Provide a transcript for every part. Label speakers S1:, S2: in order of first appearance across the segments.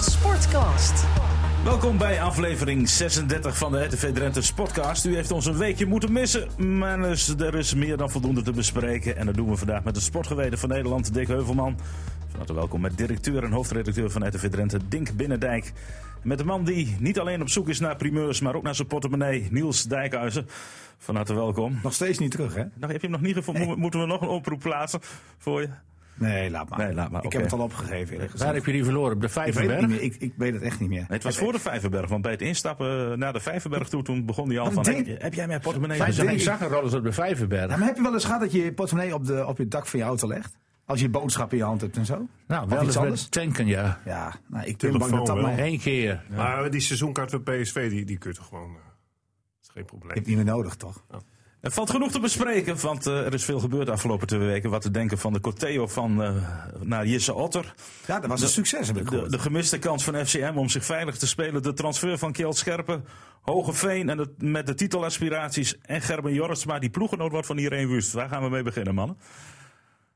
S1: Sportcast.
S2: Welkom bij aflevering 36 van de RTV Drenthe podcast. U heeft ons een weekje moeten missen, maar dus er is meer dan voldoende te bespreken. En dat doen we vandaag met de sportgeweten van Nederland, Dick Heuvelman. Van harte welkom met directeur en hoofdredacteur van RTV Drenthe, Dink Binnendijk. En Met de man die niet alleen op zoek is naar primeurs, maar ook naar zijn portemonnee, Niels Dijkhuizen. Van harte welkom.
S3: Nog steeds niet terug, hè?
S2: Nou, heb je hem nog niet gevonden? Mo- Moeten we nog een oproep plaatsen voor je?
S3: Nee, laat maar.
S2: Nee, laat maar,
S3: Ik
S2: oké.
S3: heb het al opgegeven. eerlijk gezegd.
S4: Waar heb je die verloren? Op de
S3: Ik weet het
S4: Vijverberg?
S3: niet meer. Ik, ik weet het echt niet meer.
S2: Nee, het was voor de Vijverberg, want bij het instappen eh, naar de Vijverberg toe, toen begon hij al
S3: Wat
S2: van...
S3: denk-
S2: "Hey, Heb jij mijn portemonnee?
S3: Vijf-
S2: gezien?"
S4: Ik zag een rollers op de
S3: Ja,
S4: Vijverberg.
S3: maar heb je wel eens gehad dat je je portemonnee op, de, op het dak van je auto legt? Als je boodschappen in je hand hebt en zo?
S4: Nou,
S3: Of
S4: wel
S3: iets
S4: eens
S3: anders?
S4: met tanken, ja.
S3: Ja, nou, ik ben bang
S5: Telefoon
S3: dat dat
S5: wel.
S3: nog... Ik
S4: Eén keer.
S5: Maar die seizoenkaart van PSV, die, die kun je toch gewoon... eh, is geen probleem.
S3: heb niet meer nodig, toch?
S2: Er valt genoeg te bespreken, want eh, er is veel gebeurd de afgelopen twee weken. Wat te denken van de corteo van, eh, naar Jesse Otter.
S3: Ja, dat was een succes, heb ik
S2: De,
S3: gehoord.
S2: de gemiste kans van FCM om zich veilig te spelen. De transfer van Kjeld Scherpen, Hogeveen en het- met de titelaspiraties. En Gerben Jorritsma, die ploegenoot wordt van Irene Wust. Waar gaan we mee beginnen, mannen?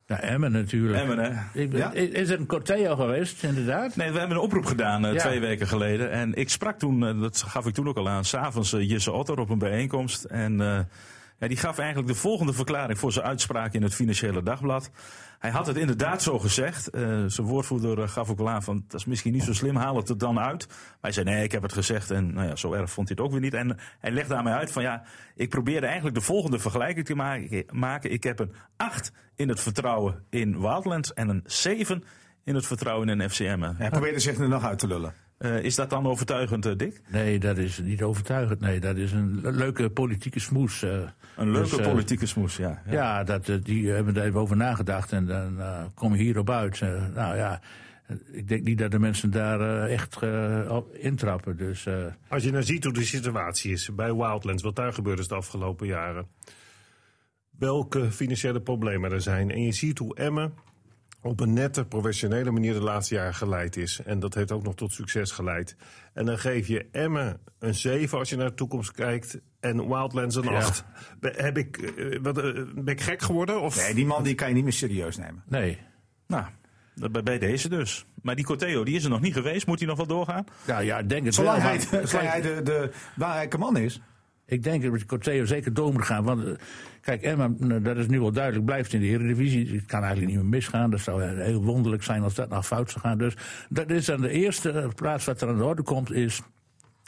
S4: Ja, Emmen natuurlijk.
S2: Emmen, hè?
S4: Ik ben-
S3: Ja.
S4: Is er een corteo geweest, inderdaad?
S2: Nee, we hebben een oproep gedaan eh,
S4: Ja.
S2: twee weken geleden. En ik sprak toen, eh, dat gaf ik toen ook al aan, s'avonds eh, Jesse Otter op een bijeenkomst. En eh, ja, die gaf eigenlijk de volgende verklaring voor zijn uitspraak in het Financiële Dagblad. Hij had het inderdaad zo gezegd. Eh, zijn woordvoerder eh, gaf ook wel aan van, dat is misschien niet zo slim, haal het er dan uit. Maar hij zei, nee, ik heb het gezegd en nou ja, zo erg vond hij het ook weer niet. En hij legde aan mij uit van, ja, ik probeerde eigenlijk de volgende vergelijking te ma- maken. Ik heb een 8 in het vertrouwen in Wildlands en een 7 in het vertrouwen in FCM. hè.
S3: Hij probeerde zich er nog uit te lullen.
S2: Eh, is dat dan overtuigend, eh, Dick?
S4: Nee, dat is niet overtuigend. Nee, dat is een le- leuke politieke smoes. eh.
S2: Een leuke
S4: Dus, eh,
S2: politieke smoes, ja.
S4: Ja, dat, eh, die hebben daar even over nagedacht en dan eh, kom je hierop uit. Eh, nou ja, eh, ik denk niet dat de mensen daar eh, echt eh, op intrappen. Dus eh,
S5: Als je nou ziet hoe de situatie is bij Wildlands, wat daar gebeurd is de afgelopen jaren. Welke financiële problemen er zijn. En je ziet hoe Emmen op een nette, professionele manier de laatste jaren geleid is. En dat heeft ook nog tot succes geleid. En dan geef je Emmen een 7 als je naar de toekomst kijkt. En Wildlands een 8. Be- Heb ik, eh, wat, eh, ben ik gek geworden? Of?
S3: Nee, die man die kan je niet meer serieus nemen.
S4: nee.
S2: Nou, dat bij, bij deze dus. Maar die Corteo, die is er nog niet geweest. Moet hij nog wel doorgaan?
S4: Nou ja, ik denk het
S3: Zolang
S4: wel.
S3: hij,
S4: maar-
S3: zolang hij de, de belangrijke man is.
S4: Ik denk dat het Corteo zeker door moet gaan. Want eh, kijk, Emma, eh, dat is nu wel duidelijk, blijft in de Eredivisie. Het kan eigenlijk niet meer misgaan. Dat zou eh, heel wonderlijk zijn als dat nou fout zou gaan. Dus dat is aan de eerste eh, plaats wat er aan de orde komt, is...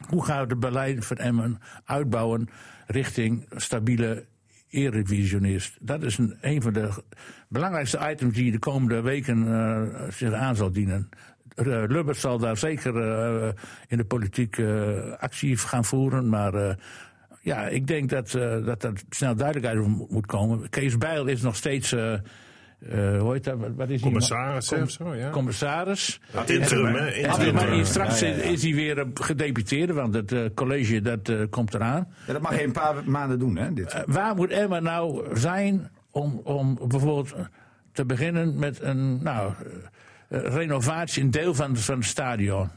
S4: hoe gaan we de beleid van Emmen uitbouwen richting stabiele eredivisionist? Dat is een, een van de belangrijkste items die de komende weken eh, zich aan zal dienen. Eh, Lubbers zal daar zeker eh, in de politiek eh, actie gaan voeren, maar... eh, ja, ik denk dat, eh, dat er snel duidelijkheid om moet komen. Kees Bijl is nog steeds. eh eh, hoe heet dat? Wat- Wat is hij?
S5: Commissaris, hè, of zo, ja.
S4: Commissaris.
S5: Interim, hè?
S4: Had hij-
S5: Interim.
S4: maar hier straks is hij weer eh, gedeputeerde, want het eh, college dat, eh, komt eraan.
S3: Ja, dat mag je een paar maanden doen, hè? Dit.
S4: Eh, waar moet Emma nou zijn om, om bijvoorbeeld te beginnen met een nou, eh, eh, renovatie, een deel van, van het stadion?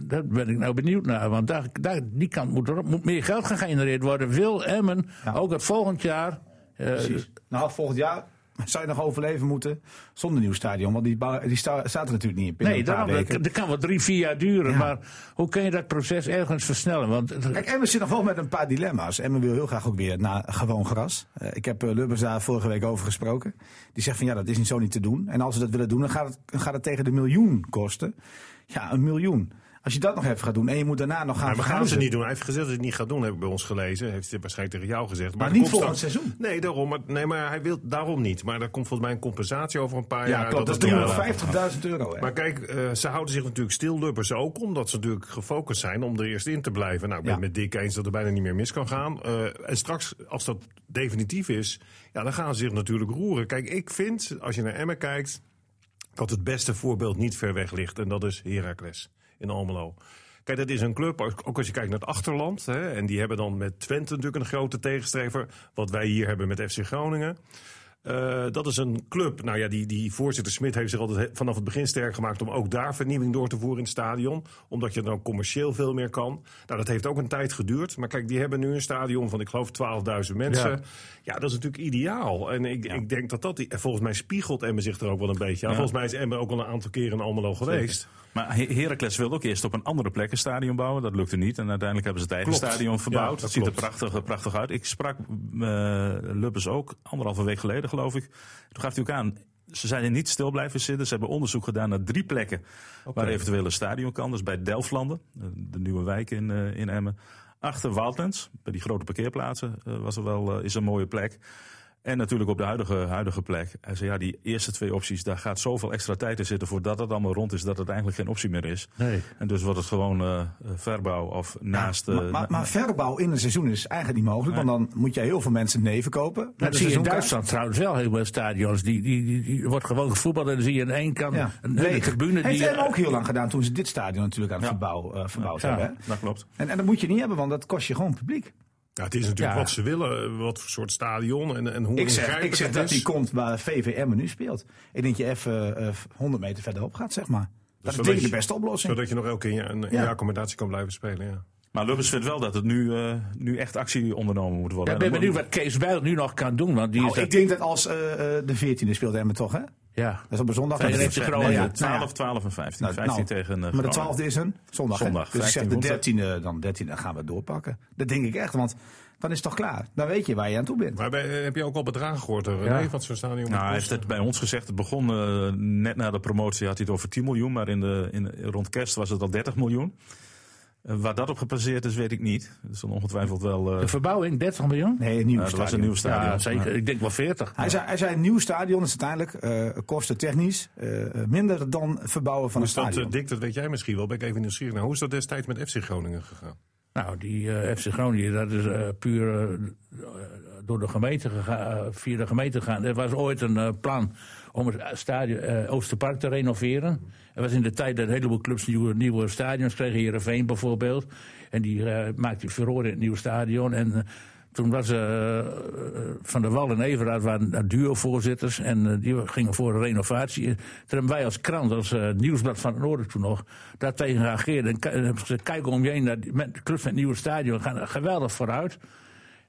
S4: Daar ben ik nou benieuwd naar, want daar, daar, die kant moet, erop, moet meer geld gegenereerd worden. Wil Emmen
S3: Ja.
S4: ook het volgend jaar. eh,
S3: Precies. Nou, volgend jaar zou je nog overleven moeten zonder nieuw stadion. Want die, bouw- die sta- staat er natuurlijk niet in. binnen
S4: nee,
S3: een paar
S4: daarom, dat,
S3: weken.
S4: dat kan wel drie, vier jaar duren.
S3: Ja.
S4: Maar hoe kun je dat proces ergens versnellen? Want het-
S3: Kijk, Emmen zit nog wel met een paar dilemma's. Emmen wil heel graag ook weer naar gewoon gras. Eh, ik heb eh, Lubbers daar vorige week over gesproken. Die zegt van ja, dat is niet zo niet te doen. En als ze dat willen doen, dan gaat het, dan gaat het tegen de miljoen kosten. Ja, een miljoen. Als je dat nog even gaat doen en je moet daarna nog gaan
S5: Maar we gaan ze
S3: verhuizen.
S5: niet doen. Hij heeft gezegd dat hij het niet gaat doen, heb ik bij ons gelezen. Heeft hij waarschijnlijk tegen jou gezegd.
S3: Maar
S5: er
S3: niet
S5: komt
S3: volgend
S5: straks-
S3: seizoen.
S5: Nee, daarom. Maar, nee, maar hij wil daarom niet. Maar daar komt volgens mij een compensatie over een paar
S3: Ja,
S5: jaar.
S3: klopt. Dat
S5: het
S3: is
S5: niet aanlaat.
S3: 250.000 euro. Hè.
S5: Maar kijk, eh, ze houden zich natuurlijk stil, Lubbers ook, omdat ze natuurlijk gefocust zijn om er eerst in te blijven. Nou, ik ben
S3: Ja.
S5: het met Dick eens dat er bijna niet meer mis kan gaan. Eh, en straks, als dat definitief is, ja, dan gaan ze zich natuurlijk roeren. Kijk, ik vind, als je naar Emmen kijkt, dat het beste voorbeeld niet ver weg ligt. En dat is Heracles in Almelo. Kijk, dat is een club, ook- ook als je kijkt naar het achterland. Hè, en die hebben dan met Twente natuurlijk een grote tegenstrever. Wat wij hier hebben met FC Groningen. Eh, dat is een club. Nou ja, die, die voorzitter Smit heeft zich altijd he- vanaf het begin sterk gemaakt om ook daar vernieuwing door te voeren in het stadion. Omdat je dan commercieel veel meer kan. Nou, dat heeft ook een tijd geduurd. Maar kijk, die hebben nu een stadion van, ik geloof, 12.000 mensen. Ja.
S4: Ja.
S5: dat is natuurlijk ideaal. En ik, ik denk dat dat. die- en volgens mij spiegelt Emmen zich er ook wel een beetje aan. Volgens mij is Emmen ook al een aantal keren in Almelo geweest.
S2: Maar He- Heracles wilde ook eerst op een andere plek een stadion bouwen. Dat lukte niet. En uiteindelijk hebben ze het eigen
S5: Klopt.
S2: stadion
S5: Ja,
S2: verbouwd.
S5: dat
S2: het ziet er
S5: klopt.
S2: prachtig, eh, prachtig uit. Ik sprak eh Lubbers ook anderhalve week geleden, geloof ik. Toen gaf hij ook aan. Ze zijn er niet stil blijven zitten. Ze hebben onderzoek gedaan naar drie plekken waar eventueel een stadion kan. Dus bij Delftlanden, eh, de nieuwe wijk in, eh, in Emmen. Achter Wildlands, bij die grote parkeerplaatsen, eh, was er wel, eh, is een mooie plek. En natuurlijk op de huidige, huidige plek. Hij zei, ja, die eerste twee opties, daar gaat zoveel extra tijd in zitten voordat het allemaal rond is, dat het eigenlijk geen optie meer is.
S4: Nee.
S2: En dus wordt het gewoon eh, eh, verbouw of naast... eh,
S3: Maar, maar,
S2: na-
S3: maar verbouw in een seizoen is eigenlijk niet mogelijk. Want dan moet je heel veel mensen nee verkopen. Met
S4: Maar dat zie je in
S3: seizoenkaart.
S4: Duitsland trouwens wel heel veel stadions. Die, die, die, die wordt gewoon gevoetbald en dan zie je aan één kant
S3: Ja,
S4: een hele
S3: leeg.
S4: tribune
S3: Heeft
S4: die... eh,
S3: hem ook heel lang gedaan toen ze dit stadion natuurlijk aan het verbouw, eh, verbouwd
S4: Ja.
S3: hebben. hè?
S2: dat klopt.
S3: En, en dat moet je niet hebben, want dat kost je gewoon publiek.
S5: Ja, het is natuurlijk
S4: Ja.
S5: wat ze willen, eh, wat voor soort stadion en, en hoe
S3: Ik zeg,
S5: ingrijpend
S3: ik zeg
S5: het
S3: dat
S5: is.
S3: die komt waar VVM nu speelt. Ik denk je even eh, 100 meter verderop gaat, zeg maar. Dat is
S5: zodat
S3: denk ik
S5: je-
S3: de beste oplossing.
S5: Zodat je nog elke keer een, een
S3: Ja.
S5: jaar accommodatie kan blijven spelen. Ja.
S2: Maar Lubbers vindt wel dat het nu, eh, nu echt actie ondernomen moet
S4: Ja,
S2: worden.
S4: ik
S2: En
S4: ben
S2: dan
S4: benieuwd
S2: moet-
S4: wat Kees Bijl nu nog kan doen. Want die
S3: Nou,
S4: is
S3: ik denk dat als eh, eh, de 14e speelt Emmen toch, hè? Dat
S4: ja.
S3: is op een zondag.
S4: Tegen
S3: Dat is-
S4: FC Groningen.
S3: nou ja, nou ja.
S2: 12, 12 en 15.
S3: Nou,
S2: 15
S3: nou,
S2: tegen eh,
S3: Maar de
S2: Groningen.
S3: 12e is een zondag. hè?
S2: Zondag,
S3: Dus ik zeg
S2: 15
S3: de
S2: woensdag.
S3: 13e, dan 13e dan gaan we het doorpakken. Dat denk ik echt, want dan is het toch klaar. Dan weet je waar je aan toe bent.
S5: Maar bij- eh, heb je ook al bedragen gehoord, eh, René,
S4: Ja.
S5: wat zo'n stadion moet
S2: Nou, hij heeft
S5: kosten?
S2: het bij ons gezegd. Het begon eh, net na de promotie, had hij het over 10 miljoen. Maar in de, in, rond kerst was het al 30 miljoen. Eh, waar dat op gebaseerd is, weet ik niet. Dat is dan ongetwijfeld wel... eh
S4: De verbouwing, 30 miljoen?
S3: Nee, een nieuw
S2: eh, dat was een
S3: stadion.
S2: nieuw stadion.
S4: Ja, zeker. Ik denk wel 40.
S3: Hij zei, hij zei, een nieuw stadion is uiteindelijk eh, kosten technisch eh, minder dan verbouwen van een
S5: Is dat,
S3: stadion.
S5: eh, Dick, dat weet jij misschien wel. Ben ik even nieuwsgierig naar. Hoe is dat destijds met FC Groningen gegaan?
S4: Nou, die eh, FC Groningen, dat is eh, puur eh, door de gemeente gega- eh, via de gemeente gegaan. Er was ooit een eh, plan om het stadion eh, Oosterpark te renoveren. Er was in de tijd dat een heleboel clubs nieuwe, nieuwe stadions kregen. Heerenveen bijvoorbeeld. En die eh, maakte furore in het nieuwe stadion. En eh, toen was eh, eh, Van der Wal en Everaard waren daar duo-voorzitters. En eh, die gingen voor een renovatie. Toen hebben wij als krant, als eh, Nieuwsblad van het Noorden toen nog, daartegen reageerd. En ki- en hebben ze gezegd, kijk om je heen, naar die, met, de clubs met het nieuwe stadion gaan er geweldig vooruit.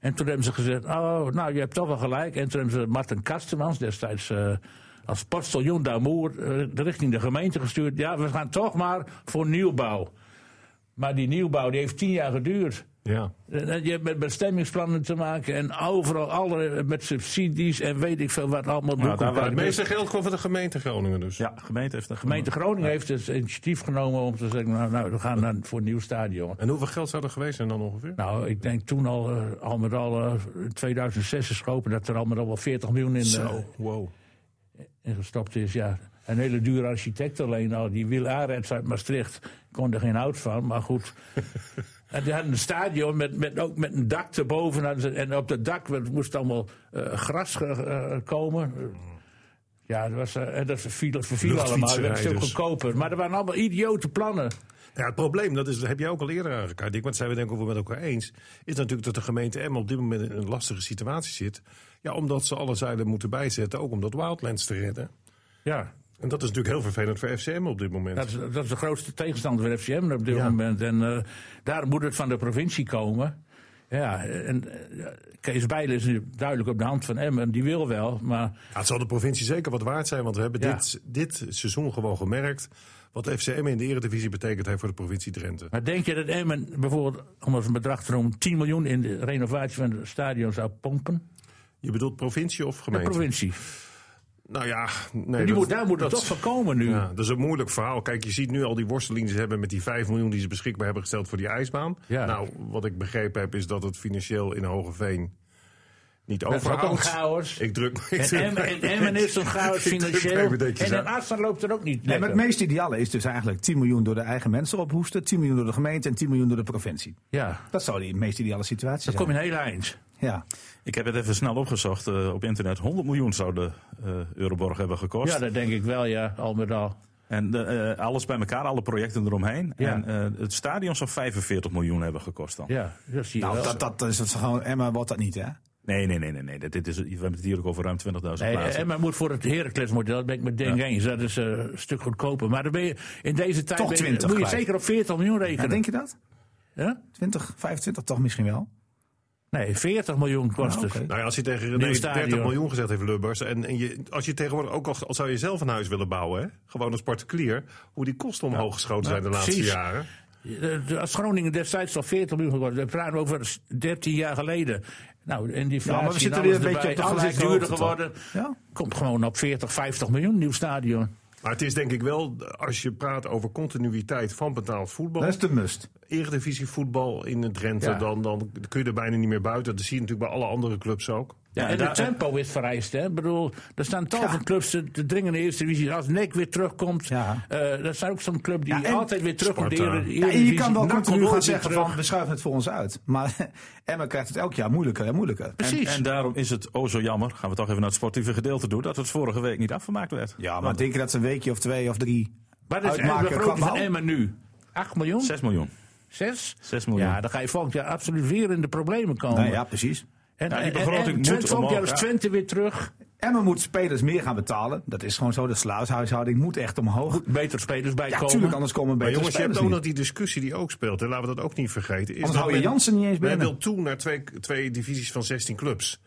S4: En toen hebben ze gezegd, oh, nou, je hebt toch wel gelijk. En toen hebben ze Martin Kastemans, destijds eh, als postiljon d'Amour, eh, richting de gemeente gestuurd. Ja, we gaan toch maar voor nieuwbouw. Maar die nieuwbouw die heeft tien jaar geduurd.
S5: Ja.
S4: En- en Je hebt met bestemmingsplannen te maken en overal alle, eh, met subsidies en weet ik veel wat allemaal.
S2: Nou, daar
S4: Hoe-
S2: waren
S5: Het meeste geld kwam van de gemeente Groningen dus.
S2: Ja, de gemeente heeft dat
S4: De gemeente Groningen heeft het initiatief genomen om te zeggen, nou, nou we gaan naar, voor een nieuw stadion.
S5: En hoeveel geld zou er geweest zijn dan ongeveer?
S4: Nou, ik denk toen al, eh, al met al, eh, in 2006 is gehopen dat er al met al wel 40 miljoen in, eh,
S5: wow.
S4: in gestopt is. Ja. Een hele dure architect alleen al, die Wil Arends uit Maastricht, kon er geen hout van, maar goed. En die hadden een stadion met, met, ook met een dak erboven. hadden ze- En op dat dak werd- moest allemaal eh, gras ge- eh, komen. Ja, dat, was, eh, en dat verviel, verviel allemaal. Het werd veel
S5: Luchtfietsenrijders.
S4: goedkoper. Maar er waren allemaal idiote plannen.
S5: Ja, het probleem, dat, is, dat heb jij ook al eerder aangekaart, Dick, want zijn we denk ik ook wel met elkaar eens, is natuurlijk dat de gemeente Emmen op dit moment in een lastige situatie zit. Ja, omdat ze alle zeilen moeten bijzetten, ook om dat Wildlands te redden.
S4: Ja,
S5: En dat is natuurlijk heel vervelend voor FCM op dit moment.
S4: Dat is, dat is de grootste tegenstander van FCM op dit
S5: Ja.
S4: moment. En eh, daar moet het van de provincie komen. Ja, en eh, Kees Bijl is nu duidelijk op de hand van Emmen. Die wil wel, maar
S5: Ja, het zal de provincie zeker wat waard zijn, want we hebben
S4: Ja.
S5: dit, dit seizoen gewoon gemerkt wat FCM in de eredivisie betekent heeft voor de provincie Drenthe.
S4: Maar denk je dat Emmen bijvoorbeeld, om als een bedrag te noemen, 10 miljoen in de renovatie van het stadion zou pompen?
S5: Je bedoelt provincie of
S4: De
S5: gemeente?
S4: provincie.
S5: Nou ja, nee,
S4: Die
S5: dat-
S4: moet, daar moet het
S5: dat-
S4: toch van komen nu.
S5: Ja, dat is een moeilijk verhaal. Kijk, je ziet nu al die worsteling die ze hebben met die 5 miljoen die ze beschikbaar hebben gesteld voor die ijsbaan.
S4: Ja.
S5: Nou, wat ik begrepen heb is dat het financieel in Hogeveen niet
S4: Dat is ook een
S5: overhoudt.
S4: chaos.
S5: Ik druk
S4: En Emmen- en Emmen is een chaos
S5: Ik druk me
S4: financieel.
S5: even netjes
S4: En in
S5: aan.
S4: Assen loopt er ook niet
S3: Nee, maar
S4: lekker.
S3: het meest ideale is dus eigenlijk 10 miljoen door de eigen mensen ophoesten, 10 miljoen door de gemeente en 10 miljoen door de provincie.
S4: Ja,
S3: Dat zou die meest ideale situatie
S4: dan
S3: zijn.
S4: kom je een heel eind.
S3: Ja.
S2: Ik heb het even snel opgezocht eh, op internet. 100 miljoen zou de eh, Euroborg hebben gekost.
S4: Ja, dat denk ik wel, ja, al met al.
S2: En de, eh, alles bij elkaar, alle projecten eromheen.
S4: Ja.
S2: En eh, het stadion zou 45 miljoen hebben gekost dan.
S4: Ja, dat zie je
S3: Nou,
S4: wel.
S3: dat, dat is het gewoon, Emma wordt dat niet, hè?
S2: Nee, nee, nee, nee. nee. Dit is, we hebben het hier ook over ruim 20.000
S4: Nee, eh,
S2: plaatsen.
S4: Emma moet voor het Heracles-model, dat ben ik met Denk eens. Dat is eh, een stuk goedkoper. Maar dan ben je, in deze tijd
S3: Toch
S4: ben je-
S3: 20
S4: moet je
S3: kwijt.
S4: zeker op 40 miljoen
S3: Ja,
S4: rekenen.
S3: denk je dat?
S4: Ja?
S3: 20, 25 toch misschien wel?
S4: Nee, 40 miljoen kost het.
S5: Nou ja, als je tegen
S4: Nieuw
S5: René
S4: stadion.
S5: 30 miljoen gezet heeft, Lubbers. En, en je, als je tegenwoordig ook al, al zou je zelf een huis willen bouwen, hè, gewoon als particulier, hoe die kosten omhoog geschoten zijn de
S4: nou,
S5: laatste
S4: precies.
S5: jaren.
S4: Eh, Als Groningen destijds al 40 miljoen geworden, dan praten we over 13 jaar geleden. Nou, en die
S3: maar we zitten weer een beetje op de
S4: Alles is
S3: gelijke
S4: duurder
S3: hoogte,
S4: geworden.
S3: toch? Ja.
S4: Komt gewoon op 40, 50 miljoen, nieuw stadion.
S5: Maar het is denk ik wel, als je praat over continuïteit van betaald voetbal,
S3: Dat is de must.
S5: eredivisie voetbal in Drenthe,
S4: Ja.
S5: dan, dan kun je er bijna niet meer buiten. Dat zie je natuurlijk bij alle andere clubs ook.
S4: Ja, en
S2: en daar-
S4: het tempo is vereist. Hè? Ik bedoel, er staan tal van clubs te, te dringen in de Eerste Divisie. Als NEC weer terugkomt,
S3: Ja.
S4: eh, dat is ook zo'n club die
S3: Ja, en-
S4: altijd weer terugkomt. in de
S5: Sparta.
S4: Ere-
S3: Ja, en je
S4: Eredivisie.
S3: kan wel
S4: NAC komt
S3: continu gaan
S4: nooit weer
S3: zeggen
S4: terug.
S3: van we schuiven het voor ons uit. Maar Emma krijgt het elk jaar moeilijker en moeilijker.
S4: Precies.
S2: En daarom is het, oh zo jammer, gaan we toch even naar het sportieve gedeelte doen, dat het vorige week niet afgemaakt werd.
S3: Ja, maar denk je dat ze een weekje of twee of drie
S4: Wat is
S3: uitmaken
S4: de
S3: qua
S4: grootte van
S3: behoud?
S4: Emmen nu? 8 miljoen?
S2: 6 miljoen.
S4: 6?
S2: 6 miljoen.
S4: Ja, dan ga je volgend jaar absoluut weer in de problemen komen.
S3: Nou ja, precies.
S4: En,
S2: Ja, die
S4: en-
S2: begroting
S4: en
S2: moet
S4: Twente volgend jaar is
S2: omhoog, ja.
S4: Twente weer terug.
S3: Emma moet spelers meer gaan betalen. Dat is gewoon zo. De slaafshuishouding moet echt omhoog.
S4: Betere spelers
S3: Ja,
S4: bijkomen.
S3: natuurlijk, anders komen
S5: Maar
S3: betere
S5: jongens, je hebt
S3: spelers
S5: ook
S3: niet.
S5: nog die discussie die ook speelt. En laten we dat ook niet vergeten. Is
S3: Anders
S5: dat
S3: hou je
S5: men-
S3: Jansen niet eens
S5: Men
S3: binnen.
S5: wil toe naar twee, twee divisies van 16 clubs.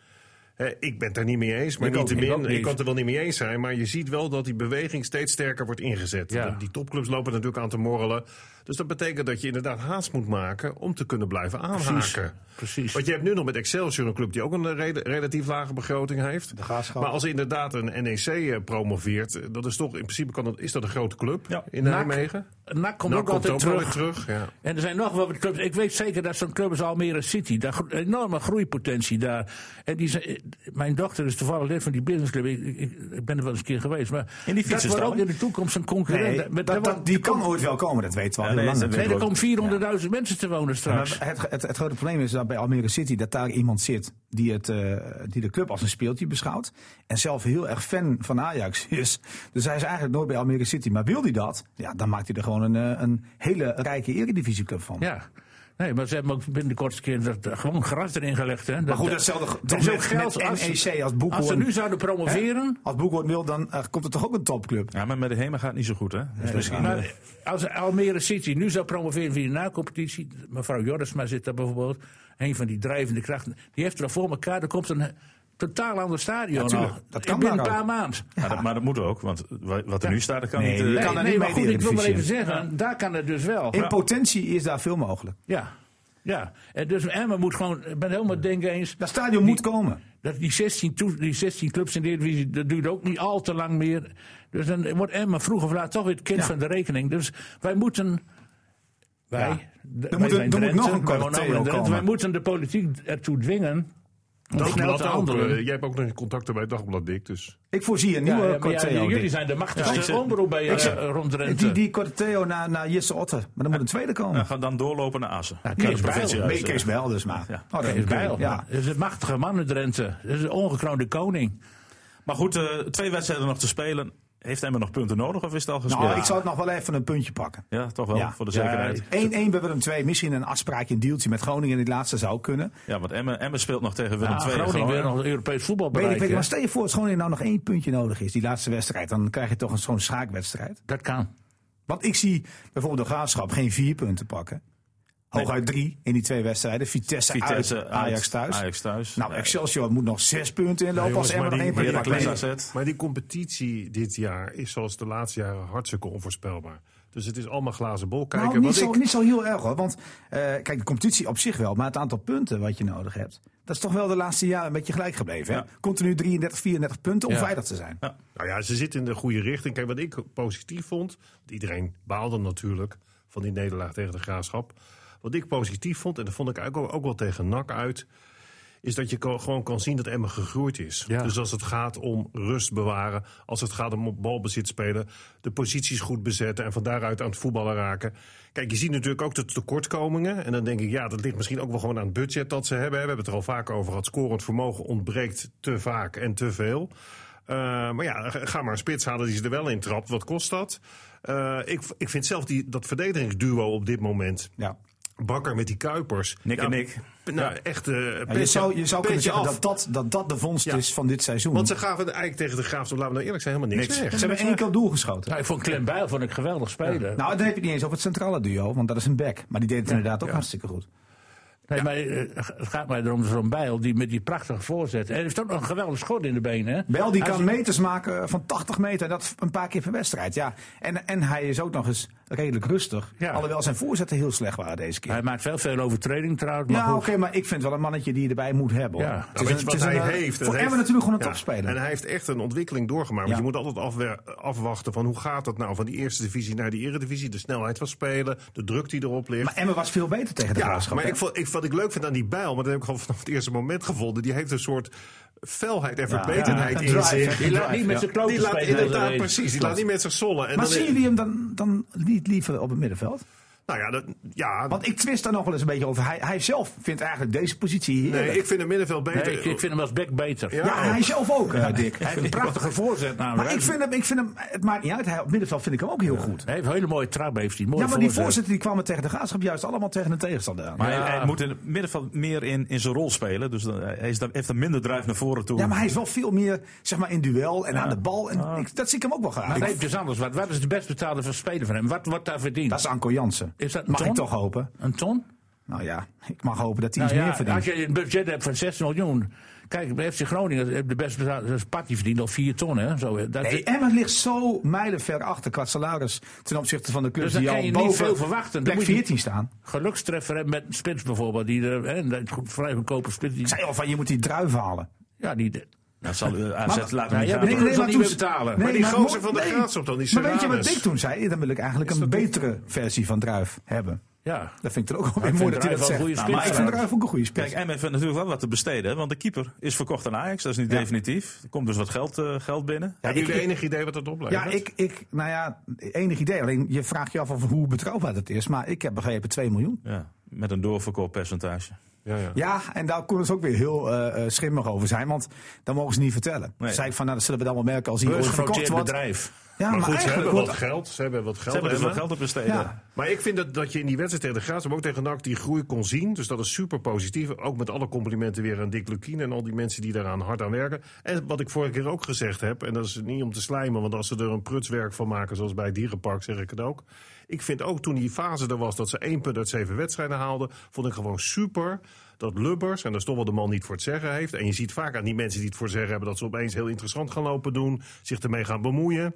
S5: Hè, ik ben het daar niet mee eens, maar
S4: Ik
S5: niet
S4: ook
S5: te
S4: niet,
S5: min.
S4: ook
S5: Ik,
S4: niet.
S5: kan het er wel niet mee eens zijn. Maar je ziet wel dat die beweging steeds sterker wordt ingezet.
S4: Ja.
S5: Die topclubs lopen natuurlijk aan te morrelen. Dus dat betekent dat je inderdaad haast moet maken om te kunnen blijven aanhaken.
S4: precies.
S5: Want je hebt nu nog met Excelsior een club die ook een rela- relatief lage begroting heeft.
S3: Graafschap.
S5: Maar als inderdaad een NEC eh, promoveert, dat is toch in principe kan dat, is dat een grote club
S2: Ja.
S5: in
S4: NAC.
S5: Nijmegen.
S4: NAC komt
S5: Nou,
S4: ook altijd
S5: wel
S4: terug.
S5: weer terug. Ja.
S4: En er zijn nog wel wat clubs. Ik weet zeker dat zo'n club als Almere City. Daar gro- enorme groeipotentie daar. En die, zijn- mijn dochter is toevallig lid van die businessclub. Ik, ik, ik ben er wel eens een keer geweest. Maar
S2: In die
S4: dat wordt
S2: fietsenstalling?
S4: ook in de toekomst een concurrent.
S3: Nee,
S4: Daar- daar
S3: dat,
S4: wordt-
S3: dat, die kan ooit wel komen, dat weten we al
S2: Ja,
S3: heel
S2: nee,
S3: lang.
S2: dat
S4: Nee, er
S2: weet ik
S4: komen 400.000 mensen te wonen straks.
S3: Maar het, het, het grote probleem is dat bij Almere City dat daar iemand zit die, het, eh, die de club als een speeltje beschouwt. En zelf heel erg fan van Ajax is. Dus hij is eigenlijk nooit bij Almere City. Maar wil hij dat, ja, dan maakt hij er gewoon een, eh, een hele rijke eredivisieclub van.
S4: Ja. Nee, maar ze hebben ook binnen de kortste keer dat, eh, gewoon gras erin gelegd. Hè.
S3: Maar goed, datzelfde
S4: er
S3: toch
S4: is
S3: met,
S4: ook geld.
S3: met
S4: Als,
S3: NEC E als
S4: als ze
S3: Boekhoorn.
S4: nu zouden promoveren.
S3: Als Boekhoorn wil, dan eh, komt er toch ook een topclub.
S2: Ja, maar met de HEMA gaat het niet zo goed, hè? Dus misschien, eh,
S4: Maar Nou, als Almere City nu zou promoveren via de na-competitie. Mevrouw Jorisma zit daar bijvoorbeeld. Een van die drijvende krachten. Die heeft er al voor elkaar. Er komt een eh, totaal ander stadion
S3: tuurlijk,
S4: al.
S3: dat kan
S4: binnen
S3: daar
S4: een
S3: ook.
S4: paar maanden.
S2: maar dat- maar dat moet ook, want wa- wat er nu staat, dat kan
S3: Nee,
S2: niet... eh,
S3: nee.
S4: Nee,
S3: kan daar
S4: nee,
S3: niet
S4: maar
S3: mee
S4: goed,
S3: de
S4: ik wil maar even
S3: Eredivisie.
S4: zeggen. Daar kan het dus wel.
S3: In potentie is daar veel mogelijk.
S4: Ja. Ja, en dus Emma moet gewoon, ik ben helemaal denken eens.
S3: Dat stadion moet komen.
S4: Dat die, 16 toe- die 16 clubs in de Eredivisie, dat duurt ook niet al te lang meer. Dus dan wordt Emma vroeg of laat toch weer het kind van de rekening. Dus wij moeten... Wij,
S3: Ja.
S4: d-
S3: Er
S4: wij
S3: moet een-
S4: zijn
S3: er moet
S4: Drenthe,
S3: nog een
S4: wij wonen allemaal in
S3: Theo
S4: Drenthe.
S3: komen.
S4: Wij moeten de politiek ertoe dwingen om snel
S5: Dagblad
S4: te
S5: ook.
S4: handelen.
S5: eh, jij hebt ook nog contacten bij het Dagblad, Dick. Dus.
S3: Ik voorzie een
S4: Ja,
S3: nieuwe
S4: ja, maar ja,
S3: Corteo.
S4: jullie
S3: Dick.
S4: zijn de
S2: Ja, ik
S4: machtigste
S2: zeg-
S4: omroep bij, eh, rond Drenthe.
S3: Die, die Corteo naar, naar Jesse Otter. Maar dan moet een tweede komen.
S2: Nou, ga dan doorlopen naar Assen. Ja,
S4: Kees Bijl.
S3: Nee, Kees Bijl dus maar.
S2: Ja.
S3: Oh, dat
S4: Kees Bijl.
S3: Ja.
S4: Dat is een machtige man in Drenthe. Dat is een ongekroonde koning.
S2: Maar goed, eh, twee wedstrijden nog te spelen. Heeft Emmen nog punten nodig of is het al gespeeld?
S3: Nou, ik zal het nog wel even een puntje pakken.
S2: Ja, toch wel,
S3: Ja.
S2: voor de
S4: Ja,
S2: zekerheid.
S3: 1-1, we hebben hem 2. Misschien een afspraakje, een deeltje met Groningen in dit laatste zou kunnen.
S2: Ja, want Emmen, Emmen speelt nog tegen Willem
S3: Nou,
S4: Ah,
S2: II.
S4: Groningen
S2: Groningen.
S4: wil nog Europees voetbal
S3: Weet ik,
S4: bereiken.
S3: weet ik, maar stel je voor dat Groningen nou nog één puntje nodig is, die laatste wedstrijd. Dan krijg je toch een zo'n schaakwedstrijd.
S4: Dat kan.
S3: Want ik zie bijvoorbeeld de Graafschap geen vier punten pakken. Hooguit drie in die twee wedstrijden. Vitesse,
S2: Vitesse,
S3: uit, Ajax thuis.
S2: Ajax thuis.
S3: Nou, Excelsior moet nog zes punten inlopen
S5: Ja,
S3: als
S5: jongens,
S3: Emmer nog
S5: maar
S3: één
S5: die-
S3: puntje
S5: maar die-
S3: pakt.
S2: Heracles AZ.
S5: nee. Maar die competitie dit jaar is zoals de laatste jaren hartstikke onvoorspelbaar. Dus het is allemaal glazen bol kijken.
S3: nou, niet
S5: wat
S3: zo,
S5: ik,
S3: niet zo heel erg hoor. Want eh, kijk, de competitie op zich wel, maar het aantal punten wat je nodig hebt, dat is toch wel de laatste jaren een beetje gelijk gebleven. Hè?
S2: Ja.
S3: Continu 33, 34 punten om veilig te zijn.
S5: Nou ja, ze zitten in de goede richting. Kijk, wat ik positief vond. Want iedereen baalde natuurlijk van die nederlaag tegen de graafschap. Wat ik positief vond, en dat vond ik eigenlijk ook wel tegen NAC uit. Is dat je ko- gewoon kan zien dat Emmen gegroeid is.
S4: Ja.
S5: Dus als het gaat om rust bewaren. Als het gaat om op balbezit spelen. De posities goed bezetten en van daaruit aan het voetballen raken. Kijk, je ziet natuurlijk ook de tekortkomingen. En dan denk ik, ja, dat ligt misschien ook wel gewoon aan het budget dat ze hebben. We hebben het er al vaak over gehad. Scorend vermogen ontbreekt te vaak en te veel. Eh, maar ja, ga ga maar een spits halen die ze er wel in trapt. Wat kost dat? Eh, ik, ik vind zelf die, dat verdedigingsduo op dit moment.
S3: Ja.
S5: Bakker met die Kuipers.
S2: Nick en Nick.
S5: Nou, echt. eh
S3: Ja, je
S5: petje-
S3: zou, je zou
S5: petje
S3: kunnen zeggen
S5: af.
S3: dat dat, dat dat de vondst
S5: Ja.
S3: is van dit seizoen.
S5: Want ze gaven eigenlijk tegen de Graafschap, laten we nou eerlijk zijn, helemaal niks,
S3: ze
S5: weg.
S3: hebben één keer op doel geschoten.
S4: Nou, ik vond Clem Bijl vond ik geweldig spelen.
S3: Nou, dan heb je het niet eens over het centrale duo, want dat is een back. Maar die deed het inderdaad ook hartstikke goed.
S4: Nee, maar, eh, het gaat mij erom zo'n bijl die met die prachtige voorzet. En hij heeft ook nog een geweldig schot in de benen. Hè?
S3: Bel die
S4: Als
S3: kan
S4: hij-
S3: meters maken van 80 meter. en Dat een paar keer per wedstrijd. Ja. En, en hij is ook nog eens redelijk rustig.
S4: Ja.
S3: Alhoewel zijn voorzetten heel slecht waren deze keer.
S4: Hij maakt wel veel overtreding trouwens. Maar
S3: ja, oké,
S4: goed.
S3: maar ik vind wel een mannetje die je erbij moet hebben. hoor.
S4: Ja. Nou,
S3: Het
S5: Nou,
S3: is een-
S5: weet je wat
S3: het is
S5: hij
S3: een, eh,
S5: heeft?
S3: Voor
S5: Hij
S3: Emmen
S5: heeft-
S3: natuurlijk gewoon een
S5: Ja, En
S3: topspeler.
S5: hij heeft echt een ontwikkeling doorgemaakt.
S3: Ja.
S5: Want je moet altijd afwe- afwachten van hoe gaat dat nou? Van die eerste divisie naar die eredivisie. De snelheid van spelen, de druk die erop ligt.
S3: Maar Emmen was veel beter tegen de
S5: ja,
S3: graafschap.
S5: maar
S3: hè?
S5: ik, vond- ik, wat ik leuk vind aan die bijl, maar dat heb ik al vanaf het eerste moment gevonden. Die heeft een soort felheid en verbetenheid
S3: ja,
S5: in
S3: drive,
S5: zich.
S3: hè?
S4: Die laat niet met zijn kloten
S5: Die laat
S4: spelen.
S5: inderdaad
S4: Nee.
S5: precies, die laat niet met zich zollen. En
S3: Maar
S5: dan-
S3: zien jullie hem dan, dan niet liever op het middenveld?
S5: Nou ja, dat, ja
S3: Want ik twist daar nog wel eens een beetje over. Hij, hij zelf vindt eigenlijk deze positie hier.
S5: nee, ik vind het middenveld beter.
S4: Nee, ik, ik vind hem als back beter.
S5: Ja.
S3: ja, hij zelf ook, eh, Dick.
S4: Hij heeft een prachtige voorzet nou, namelijk.
S3: Maar ik vind, hem, ik vind hem, het maakt niet uit. Hij, op het middenveld vind ik hem ook heel goed.
S4: Hij heeft een hele mooie trap, heeft hij. Mooie
S3: Ja, maar die
S4: voorzet.
S3: voorzitter die kwamen tegen de graafschap juist allemaal tegen de tegenstander aan.
S2: Maar hij-
S4: Ja.
S2: hij moet in het middenveld meer in, in zijn rol spelen. Dus dan- hij is daar, heeft er minder drijf naar voren toe.
S3: Ja, maar hij is wel veel meer zeg maar, in duel en aan de bal. En
S4: Ah.
S3: ik- dat zie ik hem ook wel graag.
S4: Maar nee, het is anders. Wat, wat is de best betaalde van speler van hem? Wat wordt daar verdiend?
S3: dat is Anko Jansen.
S4: Is dat een
S3: mag
S4: ton?
S3: ik toch hopen?
S4: Een ton?
S3: Nou ja, ik mag hopen dat hij
S4: Nou
S3: iets
S4: ja,
S3: meer verdient.
S4: als je een budget hebt van 6 miljoen. Kijk, bij FC Groningen heeft de best betaalde dus Patty verdiend al 4 ton. Hè? Zo, hè. dat,
S3: Nee, Emmen ligt zo mijlenver achter qua salaris ten opzichte van de clubs
S4: Dus dan
S3: die
S4: kan
S3: al
S4: je niet
S3: boven
S4: veel verwachten. Dan
S3: plek
S4: moet je-
S3: 14 staan.
S4: gelukstreffer hebben met een spits bijvoorbeeld. Die er, hè, een goed- vrij goedkope spits. Die,
S3: Ik zei al van, je moet die druif halen.
S4: ja, die,
S2: Dat zal eh, AZ
S3: Maar-
S2: laten niet
S4: ja,
S2: gaan.
S4: nee, nee. niet meer betalen. Maar
S5: die gozer
S3: moet-
S5: van de Graafschap dan, die
S3: Maar weet je wat
S5: Serranus.
S3: Dick toen zei? Dan wil ik eigenlijk een betere versie van druif hebben.
S4: ja.
S3: Dat vind ik er ook wel
S4: ik
S3: weer mooi
S4: vind
S3: dat hij
S4: Druijf
S3: dat
S4: wel
S3: zegt.
S4: een goede
S3: Nou, maar ik
S4: spits eh,
S3: vind
S4: trouwens.
S3: druif ook een goede spits.
S2: Kijk, Emmen heeft natuurlijk wel wat te besteden. hè, Want de keeper is verkocht aan Ajax. Dat is niet definitief. Er komt dus wat geld, eh, geld binnen.
S5: Hebben jullie enig idee wat dat oplevert?
S3: Ja, ik, ik, nou ja, enig idee. Alleen je vraagt je af of hoe betrouwbaar dat is. Maar ik heb begrepen 2 miljoen.
S2: Ja, met een doorverkooppercentage.
S5: Ja, ja.
S3: Ja, en daar konden ze ook weer heel eh, eh, schimmig over zijn. Want dat mogen ze niet vertellen.
S2: Nee.
S3: Zei ik van, nou, dat zullen we dan wel merken als hij ooit verkocht
S4: Beursgenoteerd
S3: wordt.
S4: bedrijf.
S3: Ja,
S5: Maar goed, ze
S3: eigenlijk
S5: hebben
S3: wordt-
S5: wat geld. Ze hebben wat
S2: Ze
S5: geld.
S2: hebben dus
S5: Emma.
S2: wat geld te besteden.
S3: Ja.
S5: Maar ik vind dat, dat je in die wedstrijd tegen de Graafschap, maar ook tegen NAC, die groei kon zien. Dus dat is super positief. Ook met alle complimenten weer aan Dick Lukien en al die mensen die daaraan hard aan werken. En wat ik vorige keer ook gezegd heb, en dat is niet om te slijmen, want als ze er een prutswerk van maken, zoals bij het Dierenpark, zeg ik het ook. Ik vind ook toen die fase er was dat ze 1 punt uit 7 wedstrijden haalden, vond ik gewoon super dat Lubbers, en dat is toch wel de man die het voor het zeggen heeft. En je ziet vaak aan die mensen die het voor het zeggen hebben dat ze opeens heel interessant gaan lopen doen, zich ermee gaan bemoeien.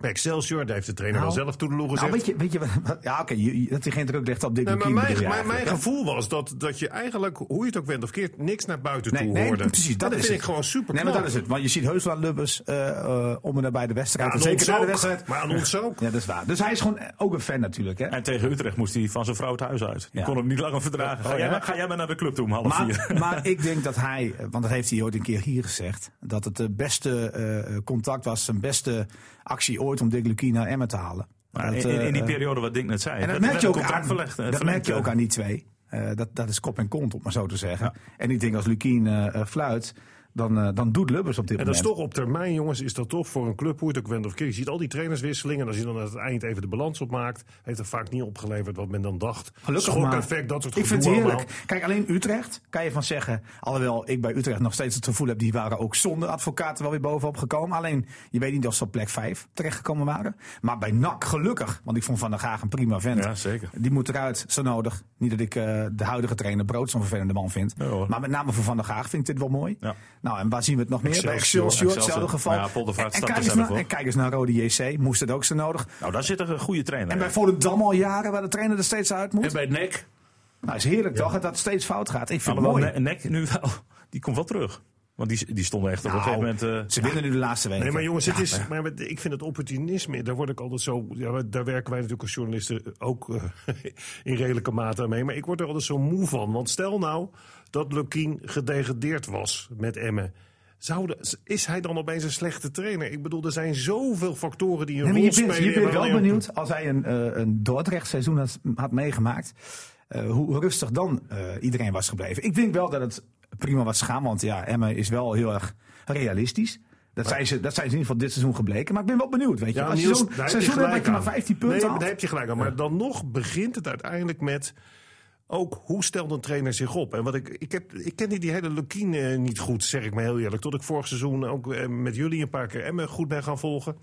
S5: Bij Excelsior, daar heeft de trainer
S3: Nou,
S5: wel zelf toe de loer
S3: Nou,
S5: gezegd.
S3: weet je, weet je wat- wat- ja, oké, je- je- dat hij geen druk legt op Dick
S5: Nee, maar
S3: Lukien bedoel
S5: mijn,
S3: je
S5: mijn, mijn
S3: eigenlijk, hè?
S5: gevoel was dat, dat je eigenlijk, hoe je het ook bent of keert, niks naar buiten
S3: Nee,
S5: toe
S3: nee,
S5: hoorde.
S3: precies, dat
S5: En
S3: is
S5: vind
S3: het.
S5: ik gewoon super
S3: Nee, maar dat is het. Want je ziet heus wel aan Lubbers eh, eh, om en nabij de wedstrijd. en
S5: aan
S3: zeker
S5: ons
S3: na de
S5: ook,
S3: wedstrijd.
S5: maar aan ons ook.
S3: Ja, dat is waar. Dus hij is gewoon eh, ook een fan natuurlijk. Hè?
S2: En tegen Utrecht moest hij van zijn vrouw het huis uit. Die
S3: Ja.
S2: kon hem niet langer verdragen. Ga,
S3: Oh,
S2: jij,
S3: ja?
S2: maar, ga jij maar naar de club toe om half
S3: Maar,
S2: vier.
S3: maar ik denk dat hij, want dat heeft hij ooit een keer hier gezegd, dat het de beste eh, contact was, zijn beste actie ooit om Dick Lukien naar Emmen te halen.
S2: Maar
S3: Dat,
S2: in, in- in die
S3: eh,
S2: periode wat Dink net zei.
S3: En dat
S2: werd-
S3: merk
S2: werd
S3: je
S2: een
S3: ook
S2: contract
S3: aan.
S2: verlegd, eh,
S3: Dat
S2: verlengd,
S3: merk je
S2: eh.
S3: ook aan die twee. Eh, dat, dat is kop en kont, om maar zo te zeggen. En ik denk als Lukien eh, eh, fluit, dan, eh, dan doet Lubbers op dit
S5: En dat is
S3: moment.
S5: toch op termijn, jongens, is dat toch voor een club, hoe je het ook bent of keert. Je ziet al die trainerswisselingen en als je dan aan het eind even de balans opmaakt, heeft het vaak niet opgeleverd wat men dan dacht.
S3: Gelukkig maar.
S5: Schokeffect, dat soort
S3: Ik vind het
S5: gedoe
S3: heerlijk.
S5: allemaal.
S3: Kijk, alleen Utrecht kan je van zeggen. Alhoewel ik bij Utrecht nog steeds het gevoel heb. die waren ook zonder advocaten wel weer bovenop gekomen. Alleen je weet niet of ze op plek 5 terechtgekomen waren. Maar bij NAC gelukkig. Want ik vond Van der Gaag een prima vent.
S2: Ja, zeker.
S3: Die moet eruit, zo nodig. Niet dat ik eh, de huidige trainer Brood zo'n vervelende man vind.
S2: Nee, hoor.
S3: maar met name voor Van der Gaag vind ik dit wel mooi.
S2: Ja.
S3: Nou, en waar zien we het nog meer? Bij
S5: Excelsior.
S3: Excelsior,
S2: Excelsior.
S3: hetzelfde geval.
S2: Maar ja, Poldervaart
S3: en,
S2: stapt er
S3: kijk eens
S2: zelf
S3: naar,
S2: op.
S3: en kijk eens naar Rode JC. Moest het ook zo nodig.
S2: Nou, daar zit een goede trainer.
S3: En bij
S2: in.
S3: Volendam al jaren, waar de trainer er steeds uit moet.
S4: En bij NEC.
S3: Nou, is heerlijk toch? Dat het steeds fout gaat. Ik vind
S2: Nou,
S3: het Ah, mooi.
S2: maar wel Nek nu wel. Die komt wel terug. Want die, die stonden echt op een
S3: Nou,
S2: gegeven moment... eh,
S3: ze winnen nu de laatste weken.
S5: Nee, maar jongens, het is, maar we- ik vind het opportunisme, daar word ik altijd zo, ja, we- daar werken wij natuurlijk als journalisten ook eh, in redelijke mate aan mee. Maar ik word er altijd zo moe van. Want stel nou dat Lukien gedegradeerd was met Emmen. Zouden, is hij dan opeens een slechte trainer? Ik bedoel, er zijn zoveel factoren die
S3: Nee,
S5: een
S3: maar
S5: rol
S3: je bent,
S5: spelen.
S3: je bent
S5: in
S3: wel
S5: wanneer-
S3: benieuwd, als hij een, eh, een Dordrecht seizoen had, had meegemaakt, eh, hoe rustig dan eh, iedereen was gebleven. Ik denk wel dat het prima was gegaan, want ja, Emma is wel heel erg realistisch. Dat zijn, ze, dat zijn ze in ieder geval dit seizoen gebleken. Maar ik ben wel benieuwd, weet je.
S5: Ja,
S3: als je
S5: Niels,
S3: zo'n
S5: daar heb je
S3: seizoen hebt
S5: gelijk
S3: dat je maar
S5: aan.
S3: 15 punten
S5: nee,
S3: haalt.
S5: daar heb je gelijk aan. Maar dan nog begint het uiteindelijk met... Ook hoe stelt een trainer zich op? En wat ik, ik, heb, ik kende die hele Lukien eh, niet goed, zeg ik me heel eerlijk. Tot ik vorig seizoen ook eh, met jullie een paar keer Emmen goed ben gaan volgen.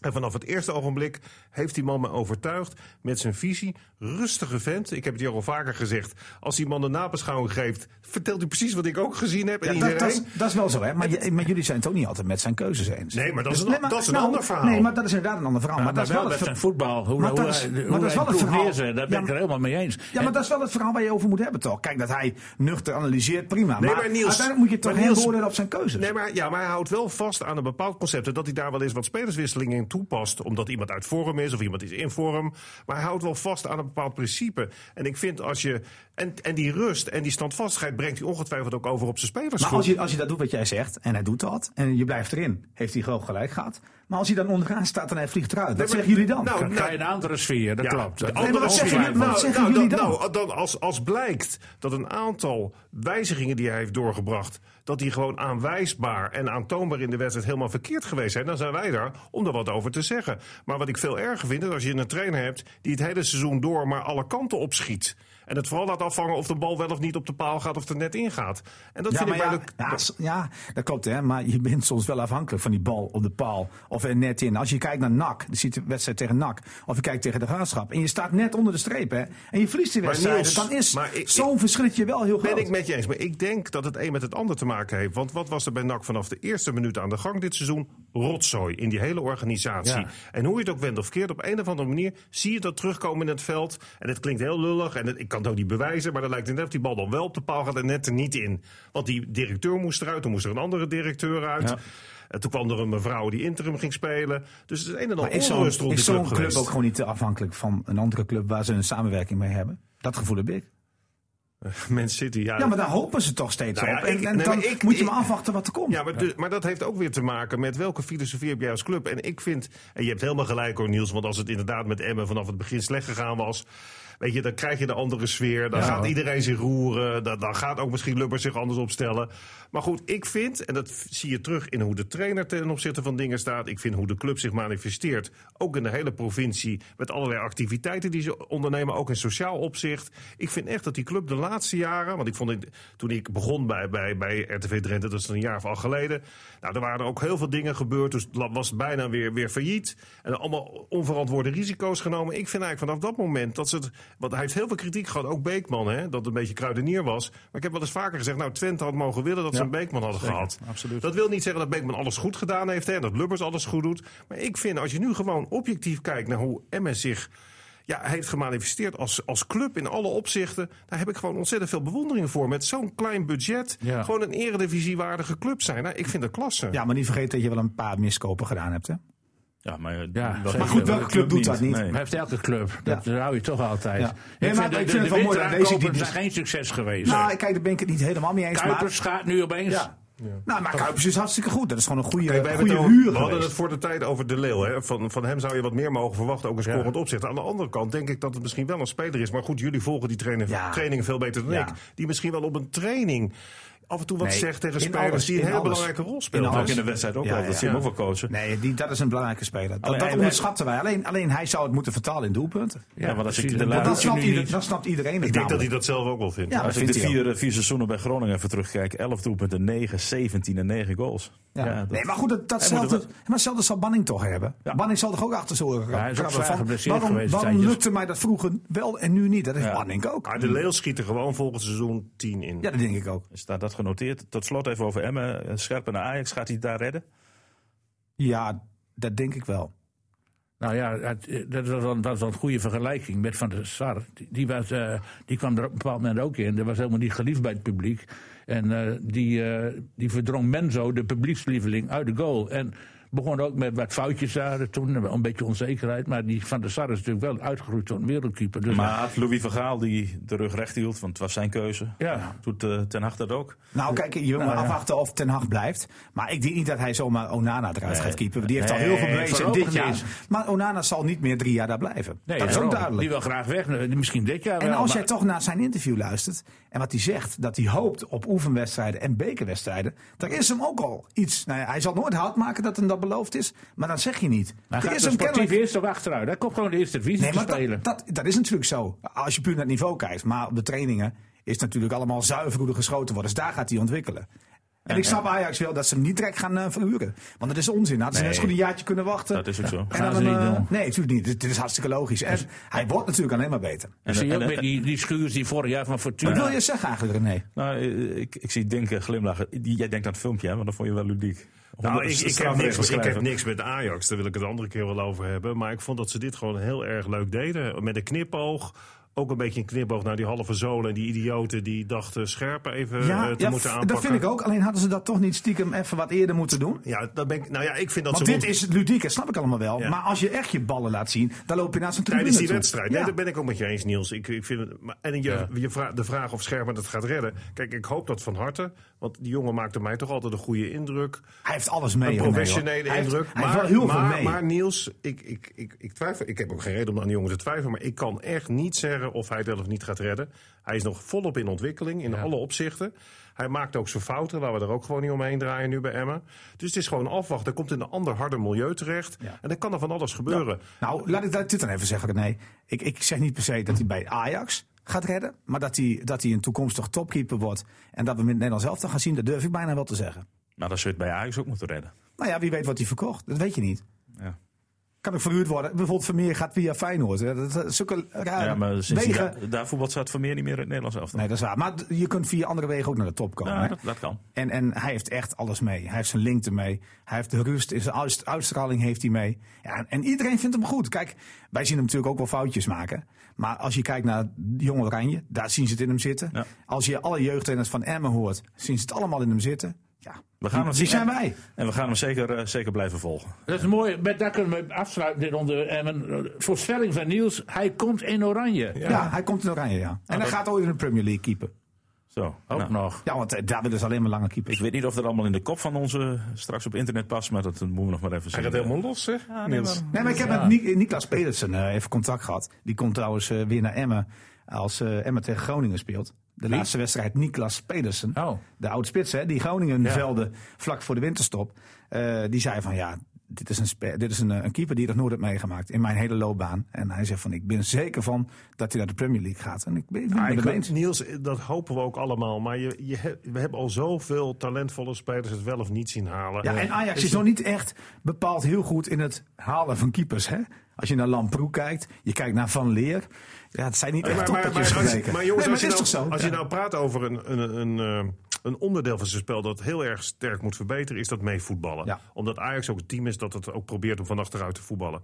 S5: En vanaf het eerste ogenblik heeft die man me overtuigd met zijn visie. Rustige vent. Ik heb het hier al vaker gezegd. Als die man de nabeschouwing geeft, vertelt hij precies wat ik ook gezien heb. en
S3: Ja, dat,
S5: iedereen.
S3: dat, is, dat is wel zo, hè? Maar, je- maar jullie zijn het ook niet altijd met zijn keuzes eens.
S5: Nee, maar dat is een-
S3: nee, maar-
S5: dat is een
S3: nou,
S5: ander verhaal.
S3: Nee, maar dat is inderdaad een ander verhaal. maar, dat is wel
S4: met
S3: het ver-
S4: zijn voetbal, hoe,
S3: Maar
S4: hoe
S3: dat is-
S4: hij,
S3: maar
S4: hoe
S3: dat is
S4: hij
S3: wel het
S4: ploeg
S3: verhaal.
S4: neerzet, daar
S3: Ja,
S4: ben ik er helemaal mee eens.
S3: Ja, maar dat is wel het verhaal waar je over moet hebben, toch? Kijk, dat hij nuchter analyseert, prima.
S5: Nee,
S3: maar,
S5: maar Niels-
S3: uiteindelijk moet je
S5: maar
S3: toch heel
S5: Niels-
S3: beoordelen op zijn keuzes.
S5: Nee, maar, ja, maar hij houdt wel vast aan een bepaald concept. En dat hij daar wel eens wat spelerswisselingen in toepast. Omdat iemand uit vorm is of iemand is in vorm. Maar hij houdt wel vast aan een bepaald principe. En ik vind als je. En, en die rust en die standvastigheid brengt hij ongetwijfeld ook over op zijn spelers.
S3: Maar als je, als je dat doet wat jij zegt, en hij doet dat, en je blijft erin, heeft hij gewoon gelijk gehad. Maar als hij dan onderaan staat en hij vliegt eruit, wat
S5: maar-
S3: zeggen jullie dan?
S5: nou,
S4: Dan ga je in een andere sfeer, dat
S5: Ja,
S4: klopt.
S5: de
S4: Dat-
S5: andere
S3: maar wat zeggen
S5: optie-
S3: jullie- wat
S5: nou,
S3: zeggen
S5: nou,
S3: jullie
S5: dat-
S3: dan?
S5: nou, dan als, als blijkt dat een aantal wijzigingen die hij heeft doorgebracht... dat die gewoon aanwijsbaar en aantoonbaar in de wedstrijd helemaal verkeerd geweest zijn... dan zijn wij daar om daar wat over te zeggen. Maar wat ik veel erger vind, is als je een trainer hebt... die het hele seizoen door maar alle kanten opschiet... en het vooral laat afvangen of de bal wel of niet op de paal gaat of er net in gaat. En dat
S3: ja,
S5: vind
S3: maar
S5: ik bij
S3: ja,
S5: de-
S3: ja, s- ja, dat klopt, hè. Maar je bent soms wel afhankelijk van die bal op de paal of er net in. Als je kijkt naar NAC, de situ- wedstrijd tegen NAC, of je kijkt tegen de Graafschap, en je staat net onder de streep, hè, en je verliest die
S5: Maar
S3: wedstrijd,
S5: Niels,
S3: dan is
S5: maar ik-
S3: zo'n verschilletje wel heel groot.
S5: Ben ik met je eens. Maar ik denk dat het een met het ander te maken heeft. Want wat was er bij NAC vanaf de eerste minuut aan de gang dit seizoen? Rotzooi in die hele organisatie.
S4: Ja.
S5: En hoe je het ook wendt of keert, op een of andere manier zie je dat terugkomen in het veld. En het klinkt heel lullig en het- ik kan het ook niet bewijzen. Maar dan lijkt het net of die bal dan wel op de paal gaat en net er niet in. Want die directeur moest eruit, toen moest er een andere directeur uit. En toen kwam er een mevrouw die interim ging spelen. Dus het is een en
S3: maar
S5: ander
S3: is zo'n
S5: onrust rond
S3: is zo'n
S5: die club,
S3: club,
S5: geweest.
S3: ook gewoon niet te afhankelijk van een andere club waar ze een samenwerking mee hebben? Dat gevoel heb ik.
S5: Man City, ja,
S3: Ja, maar daar hopen ze toch steeds
S5: Nou ja,
S3: op. En,
S5: ik-
S3: en
S5: nee,
S3: dan
S5: maar ik-
S3: moet je
S5: ik-
S3: maar afwachten wat er komt.
S5: Ja, maar, dus- maar dat heeft ook weer te maken met welke filosofie heb jij als club. En ik vind, en je hebt helemaal gelijk hoor Niels, want als het inderdaad met Emmen vanaf het begin slecht gegaan was... Weet je, dan krijg je de andere sfeer. Dan gaat iedereen zich roeren. Dan, dan gaat ook misschien Lubbers zich anders opstellen. Maar goed, ik vind, en dat v- zie je terug in hoe de trainer ten opzichte van dingen staat. Ik vind hoe de club zich manifesteert. Ook in de hele provincie. Met allerlei activiteiten die ze ondernemen. Ook in sociaal opzicht. Ik vind echt dat die club de laatste jaren. Want ik vond het, toen ik begon bij, bij, bij RTV Drenthe, dat is een jaar of acht geleden. Nou, er waren ook heel veel dingen gebeurd. Dus het la- was bijna weer, weer failliet. En allemaal onverantwoorde risico's genomen. Ik vind eigenlijk vanaf dat moment dat ze het. Want hij heeft heel veel kritiek gehad. Ook Beekman, hè, dat het een beetje kruidenier was. Maar ik heb wel eens vaker gezegd. Nou, Twente had mogen willen dat ze een Beekman hadden gehad.
S2: absoluut.
S5: Dat wil niet zeggen dat Beekman alles goed gedaan heeft. Hè, dat Lubbers alles goed doet. Maar ik vind, als je nu gewoon objectief kijkt naar hoe MS zich. Ja, heeft gemanifesteerd als, als club in alle opzichten. Daar heb ik gewoon ontzettend veel bewondering voor. Met zo'n klein budget.
S4: Ja.
S5: Gewoon een eredivisiewaardige club zijn. Nou, ik vind dat klasse.
S3: Ja, maar niet vergeten dat je wel een paar miskopen gedaan hebt. Hè?
S2: Ja, maar, eh,
S4: Ja,
S2: dat-
S4: zeker.
S2: dat-
S4: Maar goed,
S2: dat
S3: welke club doet dat niet?
S2: Nee.
S4: Maar heeft elke club. Dat hou je toch altijd.
S3: Ja. Nee, maar ik
S4: de-
S3: vind
S4: de-
S3: het wel
S4: de
S3: mooi dat deze
S4: winteraankopen
S3: die- dus-
S4: zijn geen succes geweest.
S3: Nou, kijk, daar ben ik het niet helemaal mee eens.
S4: Kuipers gaat nu opeens.
S3: Maar, ja. Nou, maar Kuipers is hartstikke goed. Dat is gewoon een goede,
S5: Kijk, wij hebben
S3: goede
S5: het over-
S3: huur
S5: we hadden
S3: geweest.
S5: het voor de tijd over De Leeuw. Hè. Van, van hem zou je wat meer mogen verwachten, ook een scorend opzicht. Aan de andere kant denk ik dat het misschien wel een speler is. Maar goed, jullie volgen die training,
S3: Ja.
S5: training veel beter dan
S3: Ja.
S5: ik. Die misschien wel op een training af en toe wat
S3: Nee,
S5: zegt tegen
S3: in
S5: spelers
S3: alles,
S5: die een
S3: in
S5: heel
S3: alles.
S5: belangrijke rol
S3: In
S5: spelen.
S3: alles.
S2: Ook in de wedstrijd ook
S3: Ja,
S2: wel.
S3: ja,
S2: Dat zien
S5: ja.
S2: ook wel coachen.
S3: Nee, die, dat is een belangrijke speler.
S5: Oh,
S3: Dat,
S2: Alleen-
S3: dat
S2: alleen-
S3: onderschatten wij. Alleen, alleen hij zou het moeten vertalen in doelpunten.
S2: Ja, want als ik
S4: precies.
S2: de
S4: Dat-
S3: Dat,
S2: laatste-
S3: dat,
S4: doet hij
S3: snapt
S4: nu
S3: ieder-
S4: niet.
S3: dat snapt iedereen.
S5: Ik denk dat hij dat zelf ook wel vindt.
S3: Nou, Ja,
S5: Ja.
S3: dat
S2: Als ik de
S3: vindt hij ook.
S2: vier, vier seizoenen bij Groningen even terugkijk, 11 doelpunten, 9, 17 en 9 goals.
S3: Ja.
S2: dat-
S3: nee, maar goed, dat,
S2: Hij
S3: datzelfde,
S2: moet
S3: maar hetzelfde zal Banning toch hebben. Banning zal toch ook achter zijn oren
S4: hij is ook
S3: krabben
S4: zwaar
S3: van,
S4: geblesseerd
S3: waarom,
S4: geweest,
S3: Waarom
S4: tijdjes.
S3: lukte mij dat vroeger wel en nu niet? Dat is
S2: Ja.
S3: Banning ook.
S5: Maar De Leeuw schiet er gewoon volgend seizoen 10 in.
S3: Ja, dat denk ik ook.
S2: Staat dat genoteerd? Tot slot even over Emmen. Eh, Scherpen naar Ajax, gaat hij het daar redden?
S3: Ja, dat denk ik wel.
S4: Nou ja, het- eh, dat was, wel, dat was wel een goede vergelijking met Van der Sar. Die, die was, eh, die kwam er op een bepaald moment ook in. Dat was helemaal niet geliefd bij het publiek. En eh, die, eh, die verdrong Menzo, de publiekslieveling, uit de goal. En begon ook met wat foutjes daar toen, een beetje onzekerheid. Maar die Van der Sar is natuurlijk wel uitgegroeid tot een wereldkeeper. Dus
S2: Maar had Louis van Gaal die de rug recht hield, want het was zijn keuze.
S4: Ja.
S2: Doet eh, Ten Hag dat ook?
S3: Nou, kijk, je wil maar afwachten of Ten Hag blijft. Maar ik denk niet dat hij zomaar Onana eruit gaat keepen. Die heeft al heel
S4: Nee,
S3: veel bewezen
S4: voorlopig
S3: dit jaar.
S4: niet.
S3: Maar Onana zal niet meer drie jaar daar blijven.
S4: Nee,
S3: dat is ook
S4: daarom.
S3: duidelijk.
S4: Die wil graag weg, eh, misschien dit jaar
S3: En
S4: wel,
S3: als
S4: maar-
S3: jij toch naar zijn interview luistert en wat hij zegt, dat hij hoopt op oefenwedstrijden en bekerwedstrijden, dan is hem ook al iets. Nou ja, hij zal nooit hout maken dat hem dat beloofd is, maar dat zeg je niet.
S4: Maar
S3: Er
S4: gaat
S3: is
S4: de
S3: hem
S4: sportief
S3: kennelijk-
S4: eerst op achteruit. Daar komt gewoon de eerste divisie
S3: Nee,
S4: te
S3: maar
S4: spelen.
S3: dat, dat, dat is natuurlijk zo. Als je puur naar het niveau kijkt, maar op de trainingen is het natuurlijk allemaal zuiver hoe er geschoten wordt. Dus daar gaat hij ontwikkelen. En ik snap Ajax wel dat ze hem niet direct gaan eh, verhuren. Want dat is onzin. Hadden ze
S2: Nee.
S3: net zo goed een jaartje kunnen wachten.
S2: Dat is ook zo.
S4: Gaan ze
S3: een,
S4: niet
S3: eh,
S4: doen. Dus-
S3: Nee, natuurlijk niet. Dit, dit is hartstikke logisch. En hij wordt natuurlijk alleen maar beter.
S4: En, zie je
S2: en-
S4: ook met
S2: en-
S4: die, die schuurs die vorig jaar van Fortuna...
S3: Wat wil je zeggen eigenlijk, René?
S2: Nou, eh, ik, ik zie denken, glimlachen. Jij denkt aan het filmpje, hè? Want dat vond je wel ludiek.
S3: Dus
S5: Nou,
S2: Honderd-
S5: ik, ik, heb
S2: strafrecht
S5: niks, ik
S2: beschrijven.
S5: heb niks met Ajax, daar wil ik het andere keer wel over hebben. Maar ik vond dat ze dit gewoon heel erg leuk deden. Met een knipoog. Ook een beetje een knipoog naar die halve zolen en die idioten die dachten scherpen even eh, te moeten
S3: f-
S5: aanpakken.
S3: dat vind ik ook. Alleen hadden ze dat toch niet stiekem even wat eerder moeten doen.
S5: Ja, dat ben ik, nou ja, ik vind dat
S3: Want
S5: ze
S3: dit
S5: rond-
S3: is ludiek, dat snap ik allemaal wel.
S5: Ja.
S3: Maar als je echt je ballen laat zien, dan loop je naar zo'n tribune
S5: tijdens die
S3: toe.
S5: wedstrijd. Nee,
S3: Ja.
S5: dat ben ik ook met je eens, Niels. Ik, ik vind, het- maar- en je, je vra- de vraag of Scherpen het gaat redden. Kijk, ik hoop dat van harte. Want die jongen maakte mij toch altijd een goede indruk.
S3: Hij heeft alles mee.
S5: Een
S3: René, hoor.
S5: professionele
S3: Hij heeft-
S5: indruk.
S3: Hij
S5: maar,
S3: heeft wel heel
S5: maar,
S3: veel mee.
S5: maar Niels, ik, ik, ik, ik twijfel. Ik heb ook geen reden om aan die jongen te twijfelen. Maar ik kan echt niet zeggen of hij het wel of niet gaat redden. Hij is nog volop in ontwikkeling, in alle opzichten. Hij maakt ook zijn fouten. Laten we er ook gewoon niet omheen draaien nu bij Emmen. Dus het is gewoon afwachten. Hij komt in een ander harder milieu terecht.
S3: Ja.
S5: En dan kan er van alles gebeuren.
S3: Nou, laat ik dat- dit dan even zeggen, René. Ik, ik zeg niet per se dat hij bij Ajax gaat redden. Maar dat hij, dat hij een toekomstig topkeeper wordt. En dat we hem in Nederland zelf gaan zien, dat durf ik bijna wel te zeggen.
S2: Maar dat Nou, zou je het bij Ajax ook moeten redden.
S3: Nou ja, wie weet wat hij verkocht. Dat weet je niet.
S2: Ja.
S3: Kan ook verhuurd worden. Bijvoorbeeld Vermeer gaat via Feyenoord. hè. Dat, dat, zulke rare
S2: Ja, maar sinds die
S3: wegen.
S2: da- daar voetbal staat Vermeer niet meer in het Nederlands elftal.
S3: Nee, dat is waar. Maar d- je kunt via andere wegen ook naar de top komen.
S2: Ja,
S3: hè?
S2: dat, dat kan.
S3: En, en hij heeft echt alles mee. Hij heeft zijn linkte mee. Hij heeft de rust, in zijn uit- uitstraling heeft hij mee. Ja, en iedereen vindt hem goed. Kijk, wij zien hem natuurlijk ook wel foutjes maken. Maar als je kijkt naar Jong Oranje, daar zien ze het in hem zitten.
S2: Ja.
S3: Als je alle jeugdtrainers van Emmen hoort, zien ze het allemaal in hem zitten. Ja,
S2: We gaan
S3: die,
S2: het
S3: die
S2: zien.
S3: zijn wij.
S2: En we gaan hem zeker, eh, zeker blijven volgen.
S4: Dat is mooi. Met, daar kunnen we afsluiten dit onder. En een eh, voorspelling van Niels. Hij komt in oranje.
S3: Ja. hij komt in Oranje, ja. En hij
S2: dat-
S3: gaat ooit in de Premier League keeper.
S2: Zo,
S4: Ook
S2: nou.
S4: nog.
S3: Ja, want eh, daar willen ze alleen maar lange keepers.
S2: Ik weet niet of dat allemaal in de kop van onze eh, straks op internet past, maar dat moeten we nog maar even
S5: Hij
S2: zien.
S5: gaat helemaal los, zeg. Niels.
S3: Nee, maar ik heb met Ni- Niklas Pedersen eh, even contact gehad. Die komt trouwens eh, weer naar Emmen als eh, Emmen tegen Groningen speelt. De laatste wedstrijd Niklas Pedersen.
S4: Oh.
S3: De oude spits, hè, die Groningen velden vlak voor de winterstop. eh, die zei van ja, dit is, een, spe- dit is een, eh, een keeper die ik nog nooit heb meegemaakt in mijn hele loopbaan. En hij zegt van ik ben zeker van dat hij naar de Premier League gaat. En ik ben het niet
S5: Ja,
S3: met
S5: Ah, ik
S3: hem
S5: weet-
S3: eens.
S5: Niels, dat hopen we ook allemaal. Maar je, je, he- we hebben al zoveel talentvolle spelers het wel of niet zien halen.
S3: Ja, en Ajax is nog niet echt bepaald heel goed in het halen van keepers. Hè? Als je naar Lamproe kijkt, je kijkt naar Van Leer. Ja, het zijn niet
S5: Nee,
S3: echt
S5: maar, maar, maar,
S3: toppertjes
S5: als-
S3: gebleken.
S5: maar jongens,
S3: nee, maar
S5: als,
S3: het is
S5: je,
S3: toch zo?
S5: nou, als
S3: Ja.
S5: je nou praat over een, een, een, eh, een onderdeel van zijn spel dat heel erg sterk moet verbeteren, is dat meevoetballen.
S3: Ja.
S5: Omdat Ajax ook een team is dat het ook probeert om van achteruit te voetballen.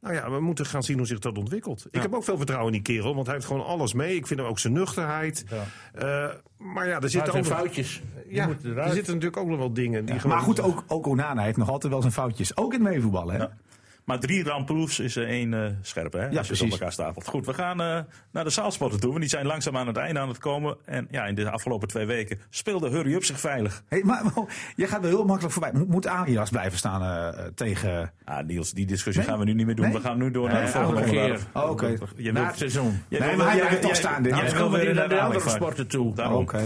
S5: Nou ja, we moeten gaan zien hoe zich dat ontwikkelt. Ik heb ook veel vertrouwen in die kerel, want hij heeft gewoon alles mee. Ik vind hem ook zijn nuchterheid. Eh, maar ja, er
S4: Het
S5: zitten,
S4: zijn
S5: ook, nog-
S4: foutjes. Die
S5: ja,
S4: moeten
S5: er
S4: eruit.
S5: zitten natuurlijk ook nog wel dingen. Die gewoon-
S3: maar goed, ook, ook Onana heeft nog altijd wel zijn foutjes. Ook in het meevoetballen. Hè?
S2: Maar drie ramproefs is er één eh scherpe, hè? als je ze op
S3: precies.
S2: elkaar stapelt. Goed, we gaan eh, naar de zaalsporten toe. Want die zijn langzaam aan het einde aan het komen. En ja, in de afgelopen twee weken speelde Hurry Up zich veilig.
S3: Hey, maar, maar je gaat er heel makkelijk voorbij. Moet, moet Arias blijven staan eh, eh, tegen...
S2: Ah, Niels, die discussie
S3: Nee?
S2: gaan we nu niet meer doen.
S3: Nee?
S2: We gaan nu door naar
S4: Nee,
S2: de volgende
S4: andere keer.
S2: onderwerp.
S3: Oh, Oké.
S2: Je
S4: Na
S2: wilt-
S4: het seizoen.
S2: Jij
S3: Nee,
S2: wil-
S3: maar hij
S2: jij-
S3: blijft toch
S2: jij-
S3: staan, dit.
S2: jij
S3: Anders
S2: wil
S4: komen we
S2: weer
S4: niet naar de
S2: Ajax
S4: andere
S2: vaak.
S4: sporten toe.
S2: Daarom.
S3: Oké.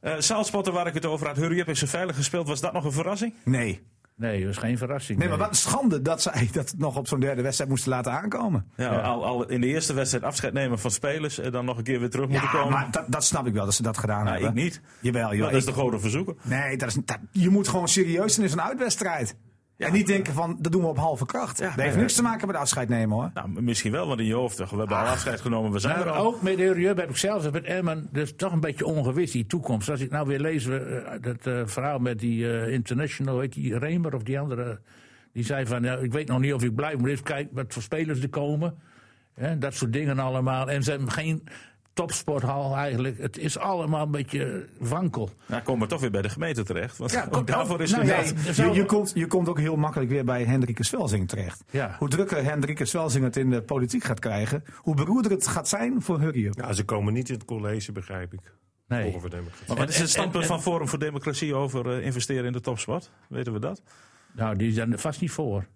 S2: Eh, zaalspotten waar ik het over had. Hurry Up is ze veilig gespeeld. Was dat nog een verrassing?
S3: Nee.
S4: Nee, dat is geen verrassing.
S3: nee, maar wat een schande dat zij dat nog op zo'n derde wedstrijd moesten laten aankomen.
S2: Ja, Eh, Al, al in de eerste wedstrijd afscheid nemen van spelers. En dan nog een keer weer terug moeten
S3: Ja,
S2: komen.
S3: maar dat, dat snap ik wel, dat ze dat gedaan
S2: Nou,
S3: hebben.
S2: ik niet.
S3: Jawel,
S2: Maar
S3: joh.
S2: dat
S3: ik-
S2: is de grote verzoeker.
S3: Nee, dat is, niet- dat, je moet gewoon serieus zijn in zo'n uitwedstrijd. en niet denken van, dat doen we op halve kracht. dat heeft
S2: maar-
S3: niks te maken met afscheid nemen hoor.
S2: Nou, misschien wel, want in je hoofd. We hebben
S3: Ah.
S2: al afscheid genomen. We
S3: Nou,
S2: zijn er
S4: Maar
S3: oh.
S2: al.
S4: ook met de Europe heb ik zelfs met Emmen, dus toch een beetje ongewis die toekomst. Als ik nou weer lees we, eh, dat eh, verhaal met die eh, international, heet die Remer of die andere, die zei van, ja, ik weet nog niet of ik blijf, maar even kijken wat voor spelers er komen. Hè, dat soort dingen allemaal. En ze hebben geen topsporthal eigenlijk. Het is allemaal een beetje wankel.
S2: Nou, komen we toch weer bij de gemeente terecht. Want
S4: Ja,
S2: ook
S4: komt-
S2: daarvoor is
S4: nou
S2: het
S4: ja,
S2: net-
S4: er
S3: Je,
S4: zou-
S3: je, komt, je komt ook heel makkelijk weer bij Hendrike Swelsing terecht.
S4: Ja.
S3: Hoe drukker Hendrike Swelsing het in de politiek gaat krijgen, hoe beroerder het gaat zijn voor Hurry Up.
S5: Ja, ze komen niet in het college, begrijp ik.
S4: Nee.
S5: Volgen we democratie.
S2: Maar wat is
S4: En-
S2: het standpunt
S4: en- en-
S2: van Forum voor Democratie over eh, investeren in de topsport? Weten we dat?
S4: Nou, die zijn er vast niet voor.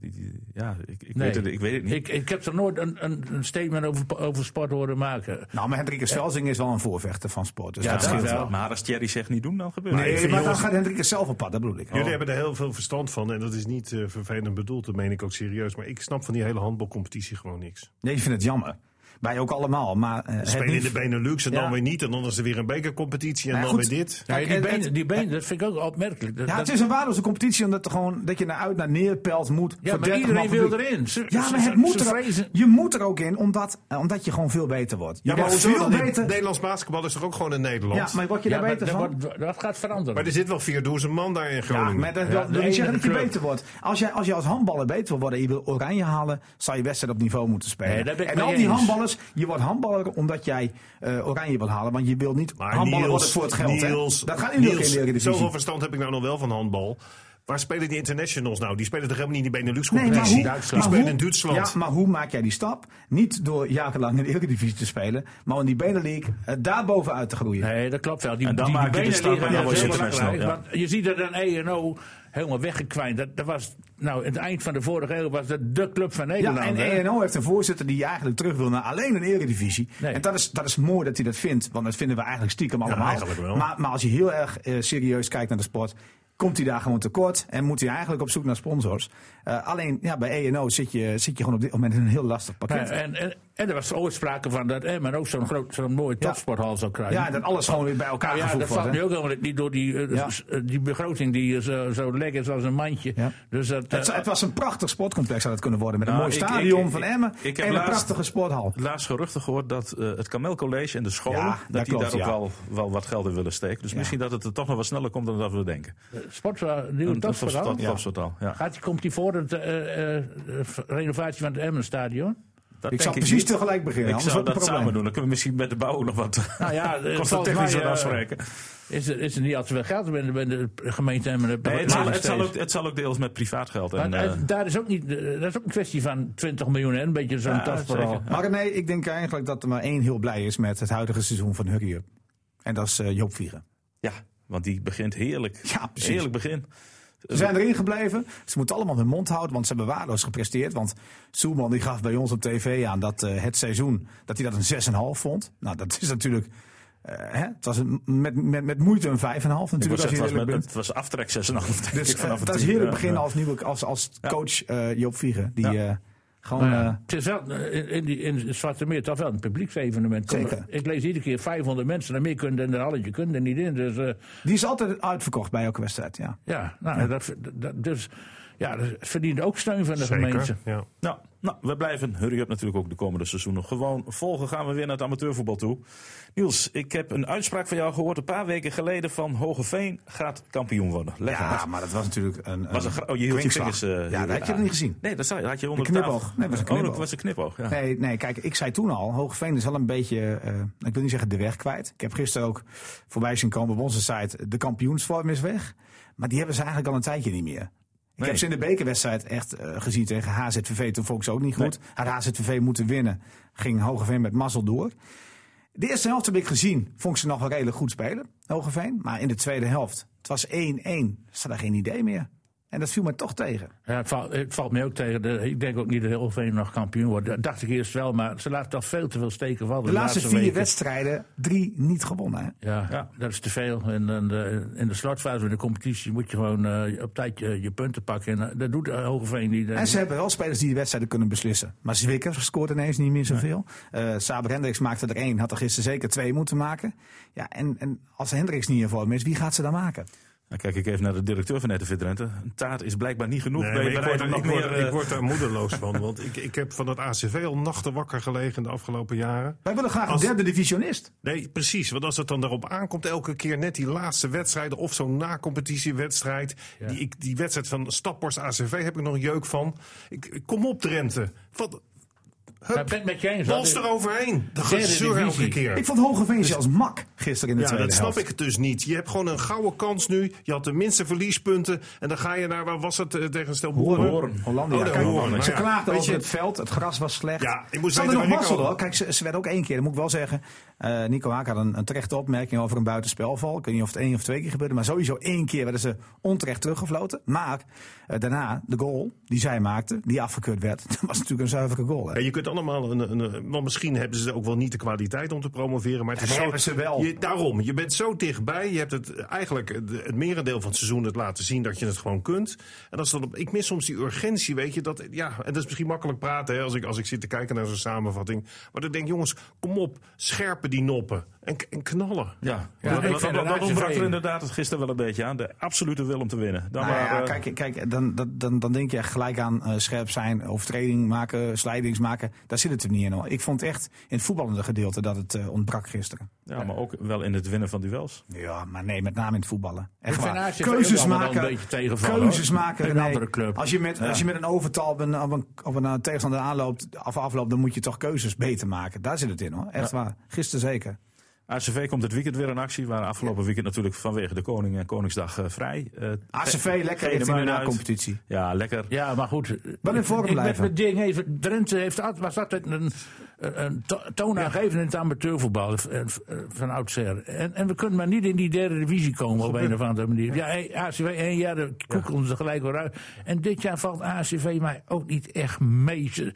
S2: Die- die- Ja, ik, ik,
S4: Nee.
S2: weet, het, ik weet het niet.
S4: Ik, ik heb er nooit een, een, een statement over, over sport horen maken.
S3: Nou, maar Hendrike Swelsing is wel een voorvechter van sport. Dus
S4: Ja,
S3: dat
S4: dat
S3: scheelt
S4: wel.
S3: wel.
S2: Maar als Thierry zegt niet doen, dan gebeurt het.
S5: ik
S3: Nee,
S5: vind
S3: maar dan
S5: jongens-
S3: gaat Hendrike zelf op pad, dat bedoel ik. Oh.
S5: Jullie hebben er heel veel verstand van en dat is niet eh, vervelend bedoeld, dat meen ik ook serieus. Maar ik snap van die hele handbalcompetitie gewoon niks.
S3: Nee, je vindt het jammer. Wij ook allemaal. Maar, eh, het
S5: Spelen in de
S3: niet-
S5: Benelux en
S3: Ja.
S5: dan weer niet. En dan is er weer een bekercompetitie en
S3: Nou ja,
S5: dan
S3: goed.
S5: weer dit.
S4: Ja,
S3: Kijk,
S4: die
S3: en-
S4: benen,
S3: en-
S4: die benen, dat vind ik ook opmerkelijk. Dat-
S3: Ja,
S4: dat-
S3: het is een waardeloze competitie omdat er gewoon, dat je naar uit naar neerpelt moet.
S4: ja
S3: voor
S4: maar
S3: 30 man
S4: iedereen wil
S3: publiek.
S4: erin. Ze-
S3: Ja,
S4: ze-
S3: maar het
S4: ze-
S3: moet
S4: ze
S3: er,
S4: vrezen-
S3: ook- je moet er ook in omdat, eh, omdat je gewoon veel beter wordt. Je
S5: Ja, maar
S3: wordt
S5: hoezo
S3: veel
S5: dan? niet?
S3: beter.
S5: Nederlands basketbal is toch ook gewoon in Nederland?
S3: Ja, maar word je
S4: Ja,
S3: daar
S4: maar
S3: beter
S4: dat,
S3: van?
S4: wordt- dat gaat veranderen.
S5: Maar er zit wel vier doezen man daar in
S3: Ja,
S5: Groningen.
S3: maar dat wil-
S4: Ja, de
S3: wil niet zeggen
S4: enige
S3: dat je
S4: club.
S3: beter wordt. Als je, als je als handballer beter wil worden en je wil oranje halen, zou je wedstrijd op niveau moeten spelen.
S4: Nee, daar ben ik
S3: en al
S4: mee
S3: die
S4: eens.
S3: handballers, je wordt handballer omdat jij eh, oranje wil halen. Want je wilt niet
S5: Maar
S3: handballer
S5: Niels,
S3: worden voor het geld. hè.
S5: Niels,
S3: dat gaat nu ook in
S5: Niels,
S3: de Eredivisie.
S5: Zoveel verstand heb ik nou nog wel van handbal. Waar spelen die internationals nou? Die spelen toch helemaal niet in die
S3: Nee, maar
S5: Benelux-competitie?
S3: hoe,
S5: die
S3: maar
S5: spelen
S3: hoe-
S5: in Duitsland.
S3: Ja, maar hoe maak jij die stap? Niet door jarenlang in de Eredivisie te spelen, maar om die Benelink eh, daarboven uit te groeien.
S4: Nee, dat klopt wel. Die,
S2: En dan
S4: die,
S2: maak je de
S4: benen
S2: stap
S4: liggen
S2: en dan
S4: er
S2: word je
S4: heel
S2: het
S4: erg
S2: snel,
S4: uit.
S2: ja.
S4: Want je ziet dat een ENO helemaal weggekwijnd. Dat, dat was, nou, het eind van de vorige eeuw was dat de club van Nederland.
S3: Ja, en
S4: hè?
S3: ENO heeft een voorzitter die eigenlijk terug wil naar alleen een eredivisie.
S4: Nee.
S3: En dat is, dat is mooi dat hij dat vindt, want dat vinden we eigenlijk stiekem allemaal.
S5: eigenlijk wel.
S3: Maar, maar als je heel erg eh, serieus kijkt naar de sport, komt hij daar gewoon tekort en moet hij eigenlijk op zoek naar sponsors. Eh, alleen ja, bij ENO zit je, zit je gewoon op dit moment in een heel lastig pakket.
S4: Nou, en, en, en er was ooit sprake van dat Emmen ook zo'n groot, zo'n mooie
S3: Ja.
S4: topsporthal zou krijgen.
S3: ja, en dat alles gewoon weer bij elkaar
S4: Nou ja,
S3: gevoegd
S4: dat valt
S3: wordt.
S4: nu
S3: hè.
S4: ook helemaal niet door die, eh,
S3: Ja.
S4: s- eh, die begroting die eh, zo, zo lek is als een mandje.
S3: Ja.
S4: Dus dat, eh,
S3: Het, het was een prachtig sportcomplex zou dat kunnen worden. Met een
S2: Nou,
S3: mooi
S2: ik- ik-
S3: stadion
S2: ik-
S3: van Emmen
S2: ik heb
S3: en een
S2: laatst-
S3: prachtige sporthal.
S2: Laatst geruchten gehoord dat eh, het Kamel College en de school.
S3: Ja, dat
S2: dat die
S3: klopt,
S2: daar ook
S3: ja.
S2: wel, wel wat geld in willen steken. Dus misschien dat het er toch nog wat sneller komt dan dat we denken.
S4: sport, eh, nieuwe
S2: Een- een
S4: topsporthal.
S2: topsporthal, topsporthal, ja.
S4: Gaat die, komt die voor eh, de renovatie van het Emmenstadion?
S2: Dat
S3: Ik
S2: denk
S3: zou precies
S2: niet.
S3: tegelijk beginnen,
S2: Ik
S3: anders
S2: zou
S3: wordt het
S2: dat
S3: een probleem.
S2: samen doen. Dan kunnen we misschien met de bouw ook nog wat.
S4: Nou ja, eh,
S2: kost dat
S4: volgens
S2: technisch
S3: nou
S4: mij,
S2: wat
S4: eh,
S2: afspreken.
S4: Is er, is er niet al te veel geld bij de, bij de gemeente Emmen?
S2: Nee, het,
S4: Maar-
S2: zal, het, zal
S4: maar
S2: ook, het zal ook deels met privaat geld. En,
S4: het-
S2: eh,
S4: daar is ook niet, eh, dat is ook een kwestie van 20 miljoen en een beetje zo'n
S2: Ja,
S4: tastverhaal.
S2: zeker.
S3: Maar nee, ik denk eigenlijk dat er maar één heel blij is met het huidige seizoen van Hurry Up. En dat is eh, Joop Vieren.
S2: ja, want die begint heerlijk.
S3: Ja, precies.
S2: Heerlijk begin.
S3: Ze zijn erin gebleven. Ze moeten allemaal hun mond houden, want ze hebben waardeloos gepresteerd. Want Soelman die gaf bij ons op tv aan dat eh, het seizoen, dat hij dat een 6,5 vond. Nou, dat is natuurlijk... eh, hè? Het was een, met, met, met moeite een 5,5
S2: Ik wou
S3: natuurlijk. Als
S2: zeggen,
S3: je
S2: het, was
S3: eerlijk
S2: met,
S3: bent.
S2: het was aftrek 6,5. denk
S3: Dus
S2: ik, vanaf
S3: eh,
S2: het
S3: dat is
S2: team.
S3: heerlijk
S2: Ja,
S3: beginnen
S2: ja.
S3: als, nieuwe, als, als coach eh, Joop Vliegen. Die
S2: Ja.
S3: eh, gewoon...
S4: Nou ja,
S3: eh,
S4: het is wel eh, in, in, die, in het Zwarte Meer toch wel een publieksevenement. Kom,
S3: Zeker.
S4: Ik lees iedere keer 500 mensen naar meer kunnen en een halletje kunnen er niet in. Dus eh,
S3: die is altijd uitverkocht bij elke wedstrijd, ja.
S4: ja, nou, Dat, dat, dus, ja, dat verdient ook steun van de gemeente.
S5: Zeker. Ja.
S2: Nou, nou, we blijven Hurry Up natuurlijk ook de komende seizoenen gewoon volgen. Gaan we weer naar het amateurvoetbal toe. Niels, ik heb een uitspraak van jou gehoord een paar weken geleden van Hogeveen gaat kampioen worden. Leg
S3: Ja,
S2: uit.
S3: maar dat was natuurlijk een.
S2: Was een gra- oh, je hield je
S3: kwinkslag.
S2: vingers... eh,
S3: ja,
S2: hield
S3: dat had je nog
S2: aan.
S3: niet gezien.
S2: Nee, dat zag- had je onder
S3: De
S2: de tafel.
S3: knipoog. Nee, dat was een
S2: Oh, dat
S3: knipoog.
S2: was een knipoog, ja.
S3: Nee, nee, kijk, ik zei toen al, Hoogveen is wel een beetje, eh, ik wil niet zeggen de weg kwijt. Ik heb gisteren ook voorbij zien komen op onze site, de kampioensvorm is weg. Maar die hebben ze eigenlijk al een tijdje niet meer. Ik
S2: Nee.
S3: heb ze in de bekerwedstrijd echt eh, gezien tegen HZVV. Toen vond ik ze ook niet goed. Had HZVV moeten winnen, ging Hogeveen met mazzel door. De eerste helft heb ik gezien, vond ik ze nog wel redelijk goed spelen, Hogeveen. Maar in de tweede helft, het was 1-1, ze hadden geen idee meer. En dat viel me toch tegen.
S4: Ja, het, valt, het valt mij ook tegen. De, ik denk ook niet dat Heerenveen nog kampioen wordt. Dat dacht ik eerst wel, maar ze laten toch veel te veel steken vallen.
S3: De laatste vier
S4: weken.
S3: wedstrijden, drie niet gewonnen. Hè?
S4: Ja,
S2: Ja.
S4: dat is te veel. En, dan de- in de slotfase van de competitie moet je gewoon eh, op tijd je, je punten pakken. En eh, dat doet eh, Hogeveen niet. eh.
S3: En ze hebben wel spelers die de wedstrijden kunnen beslissen. Maar Zwikker scoort ineens niet meer zoveel. Eh Saber Hendricks maakte er één, had er gisteren zeker twee moeten maken. Ja, en, en als Hendricks niet in vorm is, wie gaat ze dan maken?
S2: Dan kijk ik even naar de directeur van RTV Drenthe. Een taart is blijkbaar niet genoeg.
S5: Nee,
S2: bij,
S5: maar
S2: bij
S5: ik, word,
S2: Drenthe nog
S5: ik, word,
S2: meer, eh,
S5: ik word daar moedeloos van. Want ik, ik heb van het ACV al nachten wakker gelegen de afgelopen jaren.
S3: Wij willen graag
S5: Als-
S3: een derde divisionist.
S5: Nee, precies. Want als het dan daarop aankomt, elke keer net die laatste wedstrijden of zo'n na-competitiewedstrijd. Die, ik, die wedstrijd van Stappers ACV heb ik nog een jeuk van. Ik, ik kom op, Drenthe. Wat?
S4: Maar ik ben het met je eens.
S5: Wals
S4: hoor.
S5: eroverheen. De
S4: Derde
S5: gezeur
S4: divisie.
S5: elke keer.
S3: Ik vond Hogeveen zelfs mak gisteren in de
S5: Dus- Ja,
S3: tweede
S5: dat snap
S3: helft.
S5: ik het dus niet. Je hebt gewoon een gouden kans nu. Je had de minste verliespunten. En dan ga je naar, waar was het eh, tegen Stel
S3: Hoorn.
S5: Boeren?
S3: Hollandia.
S5: Oh, de
S3: Kijk,
S5: Hoorn, nou
S3: ze
S5: ja.
S3: klaagden
S5: Weet
S3: over
S5: je-
S3: het veld, het gras was slecht.
S5: Ja, ik moest
S3: ze hadden
S5: weten
S3: nog
S5: waar
S3: mazzel
S5: Nico-
S3: hoor. Kijk, ze, ze werden ook één keer, dat moet ik wel zeggen. eh, Nico Haak had een, een terechte opmerking over een buitenspelval. Ik weet niet of het één of twee keer gebeurde, maar sowieso één keer werden ze onterecht teruggefloten. Maar eh, daarna, de goal die zij maakte, die afgekeurd werd, dat was natuurlijk een zuivere goal. Hè.
S5: Ja, je kunt allemaal een, een, een- Want misschien hebben ze ook wel niet de kwaliteit om te promoveren. Maar het is
S3: Dat
S5: zo-
S3: hebben ze wel.
S5: Je, je, daarom, je bent zo dichtbij. Je hebt het eigenlijk het- het merendeel van het seizoen het laten zien dat je het gewoon kunt. En als dat, op- ik mis soms die urgentie, weet je. Dat, ja, en dat is misschien makkelijk praten hè, als, ik, als ik zit te kijken naar zo'n samenvatting. Maar dan denk ik, jongens, kom op, scherpen die noppen en, k- en knallen.
S2: Ja,
S4: Ja,
S2: dat,
S4: ik
S2: dat,
S4: vind
S2: dat-
S4: het
S2: dat ontbrak er
S4: Heerenveen.
S2: inderdaad het gisteren wel een beetje aan. De absolute wil om te winnen. Dan
S3: Nou
S2: maar,
S3: ja,
S2: eh,
S3: kijk, kijk dan, dan, dan, dan denk je echt gelijk aan eh, scherp zijn, overtreding maken, slijdings maken. Daar zit het hem niet in. hoor. Ik vond echt in het voetballende gedeelte dat het eh, ontbrak gisteren.
S2: ja, maar ook wel in het winnen van duels.
S3: Ja, maar nee, met name in het voetballen. Echt
S4: Ik vind
S3: waar.
S4: AZ ook
S3: Keuzes
S4: allemaal wel
S3: maken.
S4: een beetje tegenvallen,
S3: keuzes
S4: hoor.
S3: maken.
S4: Tegen
S3: nee.
S4: een andere club.
S3: Als je met, als je met een overtal op een, op een, op een eh, tegenstander aanloopt, of afloopt, dan moet je toch keuzes beter maken. Daar zit het in hoor. Echt waar. Gisteren zeker.
S2: ACV komt dit weekend weer in actie. We waren afgelopen weekend natuurlijk vanwege de Koning en Koningsdag eh, vrij. Eh,
S3: ACV lekker in
S2: Genemuiden
S3: de
S2: uit.
S3: competitie.
S2: Ja, lekker.
S4: Ja, maar goed.
S3: Wel in vorm
S4: ik- ik ben
S3: blijven.
S4: met ding even, Drenthe heeft, al- was altijd een, een to- toonaangevende in het amateurvoetbal eh, eh, van oudsher. En, en we kunnen maar niet in die derde divisie komen op een of andere manier. Ja, hey, ACV één jaar, dan koekelen ze gelijk weer uit. En dit jaar valt ACV mij ook niet echt mee. Ze,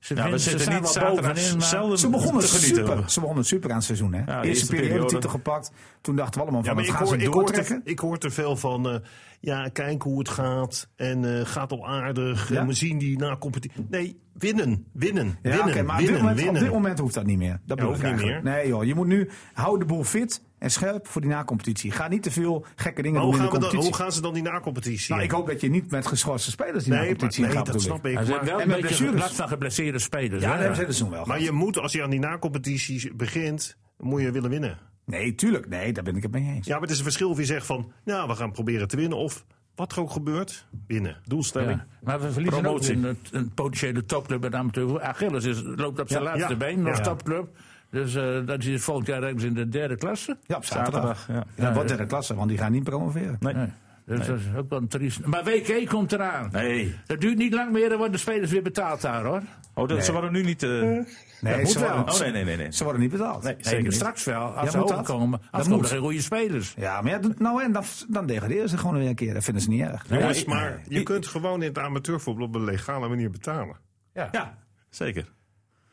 S4: ze,
S2: Ja, Nou, we
S4: winnen- ze
S2: zitten
S4: staan
S2: niet
S4: wel
S2: zaterdag
S4: bovenin, maar-
S2: zelden
S3: Ze begonnen,
S2: te genieten.
S3: super, ze begonnen super aan het seizoen. Hè?
S2: de
S3: eerste,
S2: eerste
S3: periode,
S2: periode.
S3: titel gepakt. Toen dachten we allemaal
S5: Ja,
S3: van,
S5: maar
S3: wat
S5: ik
S3: gaan
S5: hoor,
S3: ze
S5: ik, hoor te,
S3: doortrekken?
S5: ik hoor te veel van. eh, ja, kijk hoe het gaat. En eh, gaat al aardig.
S3: Ja.
S5: En we zien die na competitie. Nee, winnen. Winnen.
S3: Ja,
S5: winnen.
S3: oké, maar op dit,
S5: winnen.
S3: moment, op
S5: winnen.
S3: dit moment hoeft dat niet meer. Dat bedoel
S5: hoeft
S3: ik
S5: niet
S3: eigenlijk. Nee joh, je moet nu, hou de boel fit en scherp voor die nacompetitie. Ga niet te veel gekke dingen doen in
S5: Maar hoe,
S3: de
S5: gaan we dan,
S3: competitie.
S5: hoe gaan ze dan die na-competitie?
S3: Nou, ik hoop dat je niet met geschorste spelers die
S5: nee, maar-
S3: nacompetitie
S5: nee,
S3: gaat
S5: dat
S3: bedoel ik.
S5: snap ik.
S4: Maar ze
S5: Maar,
S4: hebben wel
S3: en
S4: een
S3: met
S4: beetje
S3: blessures.
S4: last van geblesseerde spelers.
S3: Ja,
S4: hè?
S3: dat hebben ze dus wel.
S5: maar je moet, als je aan die na-competitie begint, moet je willen winnen.
S3: Nee, tuurlijk. Nee, daar ben ik het mee eens.
S5: Ja, maar het is een verschil of je zegt van, nou, we gaan proberen te winnen. Of, wat er ook gebeurt, winnen.
S2: Doelstelling.
S4: Ja. Maar we verliezen
S2: Promotie.
S4: ook een, een potentiële topclub met amateur. Achilles is, loopt op zijn
S5: Ja,
S4: laatste
S5: ja,
S4: been als
S5: ja.
S4: topclub. Dus eh, dat is volgend jaar ergens in de derde klasse.
S3: Ja, op zaterdag.
S2: Zaterdag,
S3: Ja.
S2: ja.
S3: wat derde klasse, want die gaan niet promoveren.
S2: Nee.
S4: Nee. Dus dat is ook wel een triest. Maar WK komt eraan.
S2: Nee.
S4: Dat duurt niet lang meer, dan worden de spelers weer betaald daar hoor.
S2: Oh, dat, ze waren nu niet... eh,
S3: Nee,
S4: moet
S3: ze, worden,
S4: wel.
S2: oh, nee, nee, nee. nee.
S3: ze worden niet betaald.
S2: Nee,
S4: Nee,
S2: zeker niet.
S4: straks wel, als
S3: Ja,
S4: ze
S3: moet dat?
S4: overkomen.
S3: Dat
S4: Als komen
S3: moet.
S4: er geen goede spelers.
S3: Ja, maar ja, doet- nou en dan, dan degraderen ze gewoon weer een keer. Dat vinden ze niet erg.
S5: Jongens,
S3: Ja, ik-
S5: maar je kunt gewoon in het amateurvoetbal op een legale manier betalen.
S4: Ja.
S2: Ja, zeker.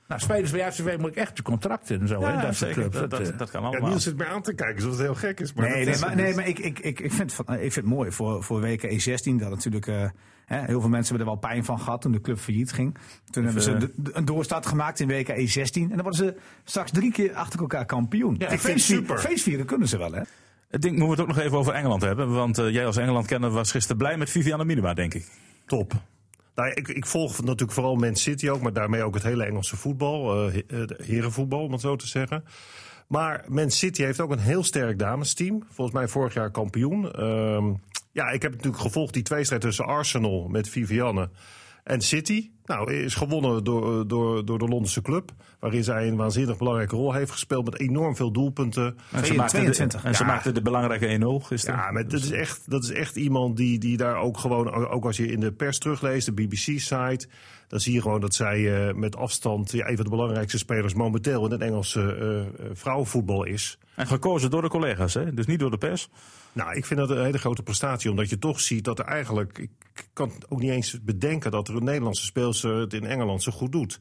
S4: Nou, spelers bij ACW moet ik echt de contracten en zo. hè,
S2: Ja,
S4: dat soort
S2: zeker.
S4: clubs.
S2: Dat,
S4: Dat,
S2: dat,
S4: eh,
S2: dat kan
S5: Ja,
S2: allemaal.
S5: Niels zit mij aan te kijken, zodat het heel gek is. Maar
S3: Nee,
S5: dat
S3: nee,
S5: is
S3: maar,
S5: het
S3: nee,
S5: niet.
S3: maar ik, ik, ik, ik, vind, van, ik vind het mooi voor, voor WK 16 dat natuurlijk eh, hè, heel veel mensen hebben er wel pijn van gehad toen de club failliet ging. Toen hebben ze de- de- een doorstart gemaakt in WK 16 en dan worden ze straks drie keer achter elkaar kampioen.
S4: ik
S3: En
S4: vind
S5: het
S3: feestvier-
S5: super.
S3: Feestvieren kunnen ze wel, hè?
S2: Ik denk, moeten we het ook nog even over Engeland hebben. Want eh, jij als Engeland-kenner was gisteren blij met Viviane Minima, denk ik.
S5: Top. Nou, ik, ik volg natuurlijk vooral Man City ook, maar daarmee ook het hele Engelse voetbal, eh, he- eh, de herenvoetbal om het zo te zeggen. Maar Man City heeft ook een heel sterk damesteam. Volgens mij vorig jaar kampioen. Ehm, ja, ik heb natuurlijk gevolgd die tweestrijd tussen Arsenal met Vivianne en City. Nou, is gewonnen door, eh, door, door de Londense club. Waarin zij een waanzinnig belangrijke rol heeft gespeeld. Met enorm veel doelpunten.
S2: En ze
S3: 22,
S2: maakte de,
S3: 22.
S2: en ze
S5: Ja.
S2: maakte de belangrijke 1-0 gisteren.
S5: Ja,
S3: Dus,
S5: maar dat
S3: eh,
S5: is echt, dat is echt iemand die, die daar ook gewoon, ook als je in de pers terugleest, de BBC-site, dan zie je gewoon dat zij eh, met afstand ja, een van de belangrijkste spelers momenteel in het Engelse eh, eh, vrouwenvoetbal is.
S2: En gekozen door de collega's, hè? dus niet door de pers.
S5: Nou, ik vind dat een hele grote prestatie, omdat je toch ziet dat er eigenlijk, ik kan het ook niet eens bedenken dat er een Nederlandse speelster het in Engeland zo goed doet.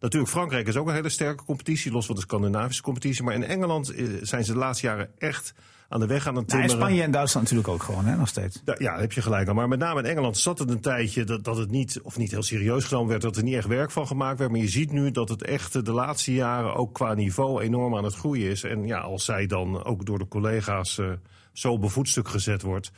S5: Natuurlijk, Frankrijk is ook een hele sterke competitie, los van de Scandinavische competitie. Maar in Engeland eh, zijn ze de laatste jaren echt aan de weg aan het
S3: Nou, en
S5: timmeren.
S3: Spanje en Duitsland natuurlijk ook gewoon, hè, nog steeds.
S5: Ja, ja, daar heb je gelijk aan. Maar met name in Engeland zat het een tijdje dat, dat het niet, of niet heel serieus genomen werd, dat er niet echt werk van gemaakt werd. Maar je ziet nu dat het echt eh, de laatste jaren ook qua niveau enorm aan het groeien is. En ja, als zij dan ook door de collega's eh, zo op een voetstuk gezet wordt.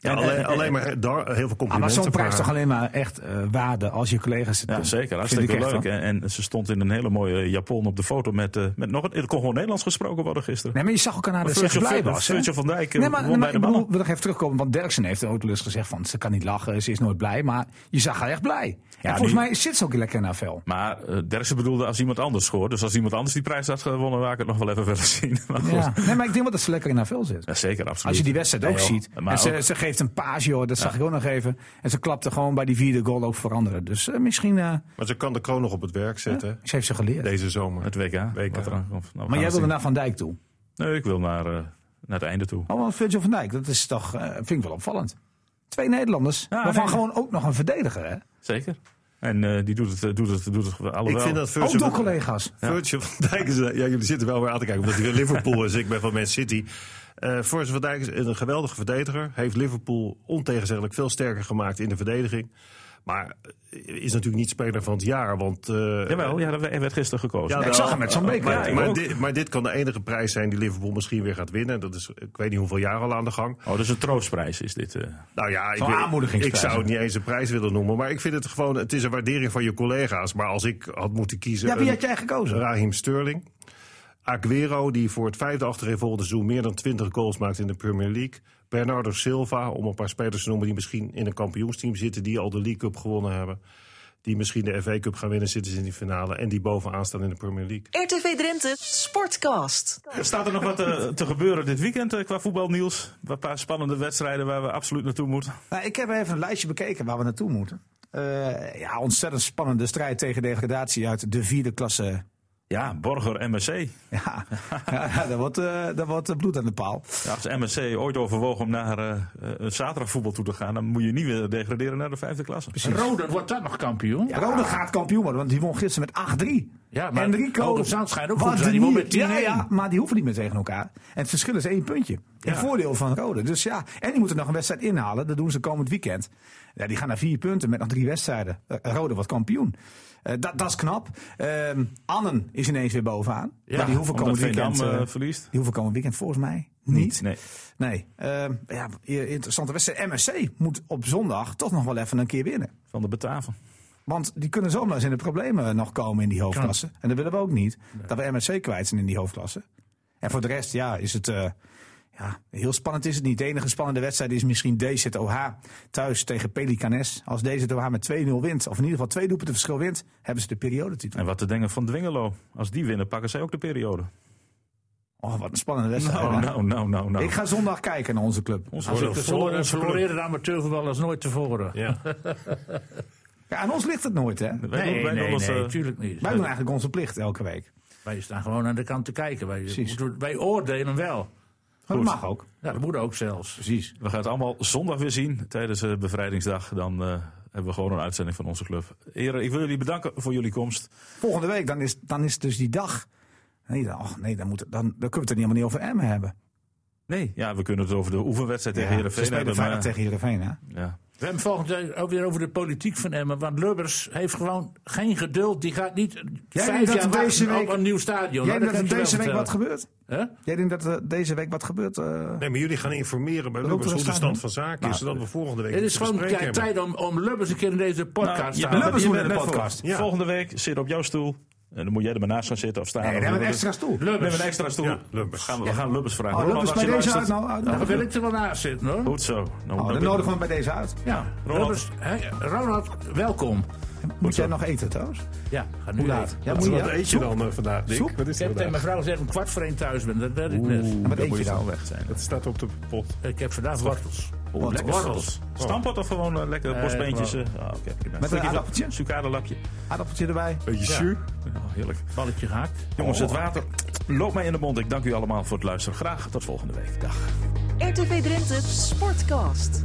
S5: Ja,
S3: En,
S5: alleen,
S3: eh,
S5: alleen maar daar heel veel complimenten.
S3: Ah, maar zo'n
S5: voor
S3: prijs is
S5: haar.
S3: toch alleen maar echt eh, waarde als je collega's het
S2: Ja,
S3: doen.
S2: zeker.
S3: Vind ik
S2: Hartstikke
S3: echt,
S2: leuk.
S3: hoor.
S2: En, en ze stond in een hele mooie Japon op de foto met, eh, met nog een... Het kon gewoon Nederlands gesproken worden gisteren.
S3: Nee, maar je zag ook aan haar dat ze echt
S2: Virgil
S3: blij
S2: van-
S3: was. hè?
S2: Virgil van Dijk, eh,
S3: nee, maar,
S2: won
S3: nee,
S2: bij
S3: maar
S2: de
S3: ik bedoel,
S2: mannen.
S3: wil nog even terugkomen, want Derksen heeft ook wel eens gezegd van ze kan niet lachen, ze is nooit blij. Maar je zag haar echt blij. en volgens
S2: die-
S3: mij zit ze ook lekker in haar vel.
S2: Maar eh, Derksen bedoelde als iemand anders scoort. Dus als iemand anders die prijs had gewonnen, wou ik het nog wel even willen zien. Maar goed.
S3: Ja.
S2: Ja.
S3: Nee, maar ik denk wel dat ze lekker in haar vel zit.
S2: zeker, absoluut.
S3: Als je die wedstrijd ook
S2: Ja, joh.
S3: ziet.
S2: Maar
S3: En ze,
S2: ook-
S3: ze geeft een paas, joh, dat zag ik ook nog even. En ze klapte gewoon bij die vierde goal ook voor anderen. Dus eh, misschien eh,
S5: Maar ze kan de kroon nog op het werk zetten hè,
S3: ze heeft ze geleerd.
S5: deze zomer.
S2: het WK.
S5: WK.
S2: Wat eraan komt. Nou, we gaan
S3: maar jij
S2: het
S3: wilde
S2: zien.
S3: naar Van Dijk toe.
S2: Nee, ik wil naar, eh, naar het einde toe.
S3: Oh, want Virgil van Dijk, dat is toch, eh, vind ik wel opvallend. Twee Nederlanders,
S2: Ja,
S3: waarvan
S2: nee.
S3: gewoon ook nog een verdediger, hè?
S2: Zeker. En eh, die doet het, eh, doet het, doet het allemaal.
S5: Ik vind dat
S3: Ook
S5: Virgil
S3: door collega's.
S5: Virgil van Dijk is... eh, Ja, jullie zitten wel weer aan te kijken, omdat hij weer Liverpool is. Ik ben van Man City. Eh Virgil van Dijk is een geweldige verdediger. Heeft Liverpool ontegenzeggelijk veel sterker gemaakt in de verdediging. Maar eh, is natuurlijk niet speler van het jaar, want... eh,
S2: Jawel, ja, dat werd- werd gisteren gekozen.
S5: Ja,
S3: ik
S5: wel.
S3: zag hem met zo'n beker.
S5: Maar,
S2: Ja, ik
S5: maar
S2: ook.
S5: dit, maar dit kan de enige prijs zijn die Liverpool misschien weer gaat winnen. Dat is, ik weet niet hoeveel jaar al aan de gang.
S2: Oh, dat is een troostprijs, is dit. eh.
S5: Nou ja, ik,
S3: Zo'n
S5: weet- ik
S3: aanmoedigingsprijs,
S5: zou het
S3: hè?
S5: niet eens een prijs willen noemen. Maar ik vind het gewoon, het is een waardering van je collega's. Maar als ik had moeten kiezen...
S3: Ja, wie
S5: een-
S3: had jij gekozen?
S5: Raheem Sterling. Aguero, die voor het vijfde achtereenvolgende seizoen meer dan 20 goals maakt in de Premier League. Bernardo Silva, om een paar spelers te noemen die misschien in een kampioensteam zitten, die al de League Cup gewonnen hebben. Die misschien de FA Cup gaan winnen, zitten ze in die finale. En die bovenaan staan in de Premier League.
S1: RTV Drenthe Sportcast.
S2: Staat er nog wat eh, te gebeuren dit weekend eh, qua voetbal, Niels? Een paar spannende wedstrijden waar we absoluut naartoe moeten.
S3: Nou, ik heb even een lijstje bekeken waar we naartoe moeten. Eh, ja, ontzettend spannende strijd tegen degradatie uit de vierde klasse
S2: Ja, Borger MSC.
S3: Ja, ja dat, wordt, eh, dat wordt eh, bloed aan de paal.
S2: Ja, als MSC ooit overwogen om naar eh, eh, een zaterdagvoetbal toe te gaan, dan moet je niet weer degraderen naar de vijfde klasse.
S4: Roda wordt dat nog kampioen?
S3: Ja, Rode gaat kampioen worden, want die won gisteren met 8-3.
S4: Ja, maar
S3: Enrico,
S4: Hoogezand schijnt ook
S3: wat
S4: goed te zijn. Die won
S3: niet-
S4: met 10-1.
S3: ja, ja, maar die hoeven niet meer tegen elkaar. En het verschil is één puntje. In voordeel van Rode. Dus ja, en die moeten nog een wedstrijd inhalen. Dat doen ze komend weekend. Ja, die gaan naar vier punten met nog drie wedstrijden. Eh, Rode wordt kampioen. Eh, dat, dat is knap. Ehm, Annen is ineens weer bovenaan.
S2: Ja,
S3: maar die hoeven
S2: omdat
S3: komend
S2: Veendam,
S3: weekend, eh,
S2: eh, verliest.
S3: die hoeven komend weekend volgens mij niet.
S2: Nee.
S3: Nee, ehm, ja, i- interessante wedstrijd. MSC moet op zondag toch nog wel even een keer winnen.
S2: Van de Bataven.
S3: Want die kunnen zomaar eens in de problemen nog komen in die hoofdklasse. En dat willen we ook niet. Dat we MSC kwijt zijn in die hoofdklasse. En voor de rest, ja, is het... eh, ja, heel spannend is het niet. De enige spannende wedstrijd is misschien DZOH thuis tegen Pelicanes. Als DZOH met 2-0 wint, of in ieder geval twee doelpunten verschil wint, hebben ze de periodetitel.
S2: En wat te denken van Dwingelo. Als die winnen, pakken zij ook de periode.
S3: Oh, wat een spannende wedstrijd.
S2: Nou,
S3: hè?
S2: nou, nou, nou. nou.
S3: Ik ga zondag kijken naar onze club.
S2: Ons
S4: Als ik
S2: worden
S4: de
S2: vol-
S4: verloren, verloren amateurvoetbal als nooit tevoren.
S5: Ja.
S3: Ja, aan ons ligt het nooit, hè? Wij
S2: Wij doen-
S4: Nee,
S2: wij
S4: nee,
S2: doen
S4: nee,
S2: ons, eh,
S4: natuurlijk niet.
S3: doen eigenlijk onze plicht elke week.
S4: Wij staan gewoon aan de kant te kijken. Wij,
S3: Precies.
S4: moeten- wij oordelen wel.
S3: Maar dat mag ook.
S4: Ja, dat moet ook zelfs.
S3: Precies.
S2: We gaan het allemaal zondag weer zien tijdens eh, bevrijdingsdag. Dan eh, hebben we gewoon een uitzending van onze club. Heren, ik wil jullie bedanken voor jullie komst.
S3: Volgende week, dan is, dan is dus die dag. Nee, dan, och, nee dan, moet het, dan, dan kunnen we het er helemaal niet over Emmen hebben.
S2: Nee, ja, we kunnen het over de oefenwedstrijd tegen
S3: ze
S2: Heerenveen
S3: spelen
S2: hebben.
S3: vrijdag
S2: maar-
S3: tegen Heerenveen, hè?
S2: ja.
S4: We hebben volgend jaar ook weer over de politiek van Emmen. Want Lubbers heeft gewoon geen geduld. Die gaat niet
S3: denkt
S4: vijf
S3: dat
S4: jaar
S3: er deze
S4: wachten
S3: week-
S4: op een nieuw stadion.
S3: Jij
S4: Nou,
S3: denkt dat er
S4: kan ik
S3: deze
S4: je
S3: week
S4: wel
S3: wat gebeurt?
S4: vertellen. Hè?
S3: Jij denkt dat er deze week wat gebeurt? eh?
S5: Nee, maar jullie gaan informeren bij
S3: Dat
S5: Lubbers
S3: loopt
S5: hoe
S3: er
S5: de
S3: een
S5: stand
S3: staan,
S5: van zaken is. Zodat we volgende week
S4: Het is
S5: iets te
S4: gewoon
S5: bespreken
S4: tijd-
S5: hebben.
S4: tijd om, om Lubbers een keer in deze podcast
S2: je
S4: te halen.
S2: bent,
S3: Nou, Lubbers
S2: je
S3: moet
S2: bent
S3: in de
S2: net voor.
S3: podcast.
S5: Ja.
S2: Volgende week zit op jouw stoel. En dan moet jij er maar naast gaan zitten of staan.
S3: nee,
S2: Of
S3: dan hebben we een
S2: Lubbers.
S3: extra stoel.
S2: We hebben een extra stoel.
S5: Ja, Lubbers.
S2: Gaan we, we gaan Lubbers vragen.
S3: Oh, Lubbers
S2: Ronald,
S3: bij
S2: als je
S3: deze uit
S2: luistert-
S3: nou? uit-
S4: Dan wil ik er wel naast zitten hoor.
S2: Goed zo. Nou,
S3: Oh,
S2: dan
S3: dan
S2: ben-
S3: nodigen we hem bij deze uit.
S4: Ja,
S2: Ronald.
S4: Lubbers, hè, Ronald, welkom.
S3: Moet jij nog eten, trouwens?
S4: Ja, ga nu
S3: Hoe laat?
S4: eten.
S3: Ja, moet
S5: Wat
S3: je
S5: wat eet je dan eh, vandaag, Dick?
S3: Soep?
S5: Wat is
S4: Ik
S5: nou, er
S4: heb tegen
S5: vandaag?
S4: mijn vrouw gezegd om kwart voor één thuis ben. Dat, dat is net.
S3: Ja, Wat
S2: Dan moet
S3: eet je
S2: je snel
S3: dan?
S2: weg zijn.
S5: Dat staat op de pot.
S4: Ik heb vandaag wortels.
S2: Oh, lekker.
S4: wortels.
S2: Stampot of gewoon eh, lekker
S4: Nee,
S2: borstbeentjes?
S4: gewoon.
S2: eh? Ah, oké, prima.
S3: Met een
S2: Stukje
S3: aardappeltje?
S2: van- Sucadelapje.
S3: Aardappeltje erbij.
S5: Beetje zuur.
S2: Oh, heerlijk.
S4: Balletje gehakt.
S2: Jongens,
S3: Oh.
S2: het water loopt mij in de mond. Ik dank u allemaal voor het luisteren. Graag tot volgende week. Dag.
S1: RTV Drenthe Sportcast.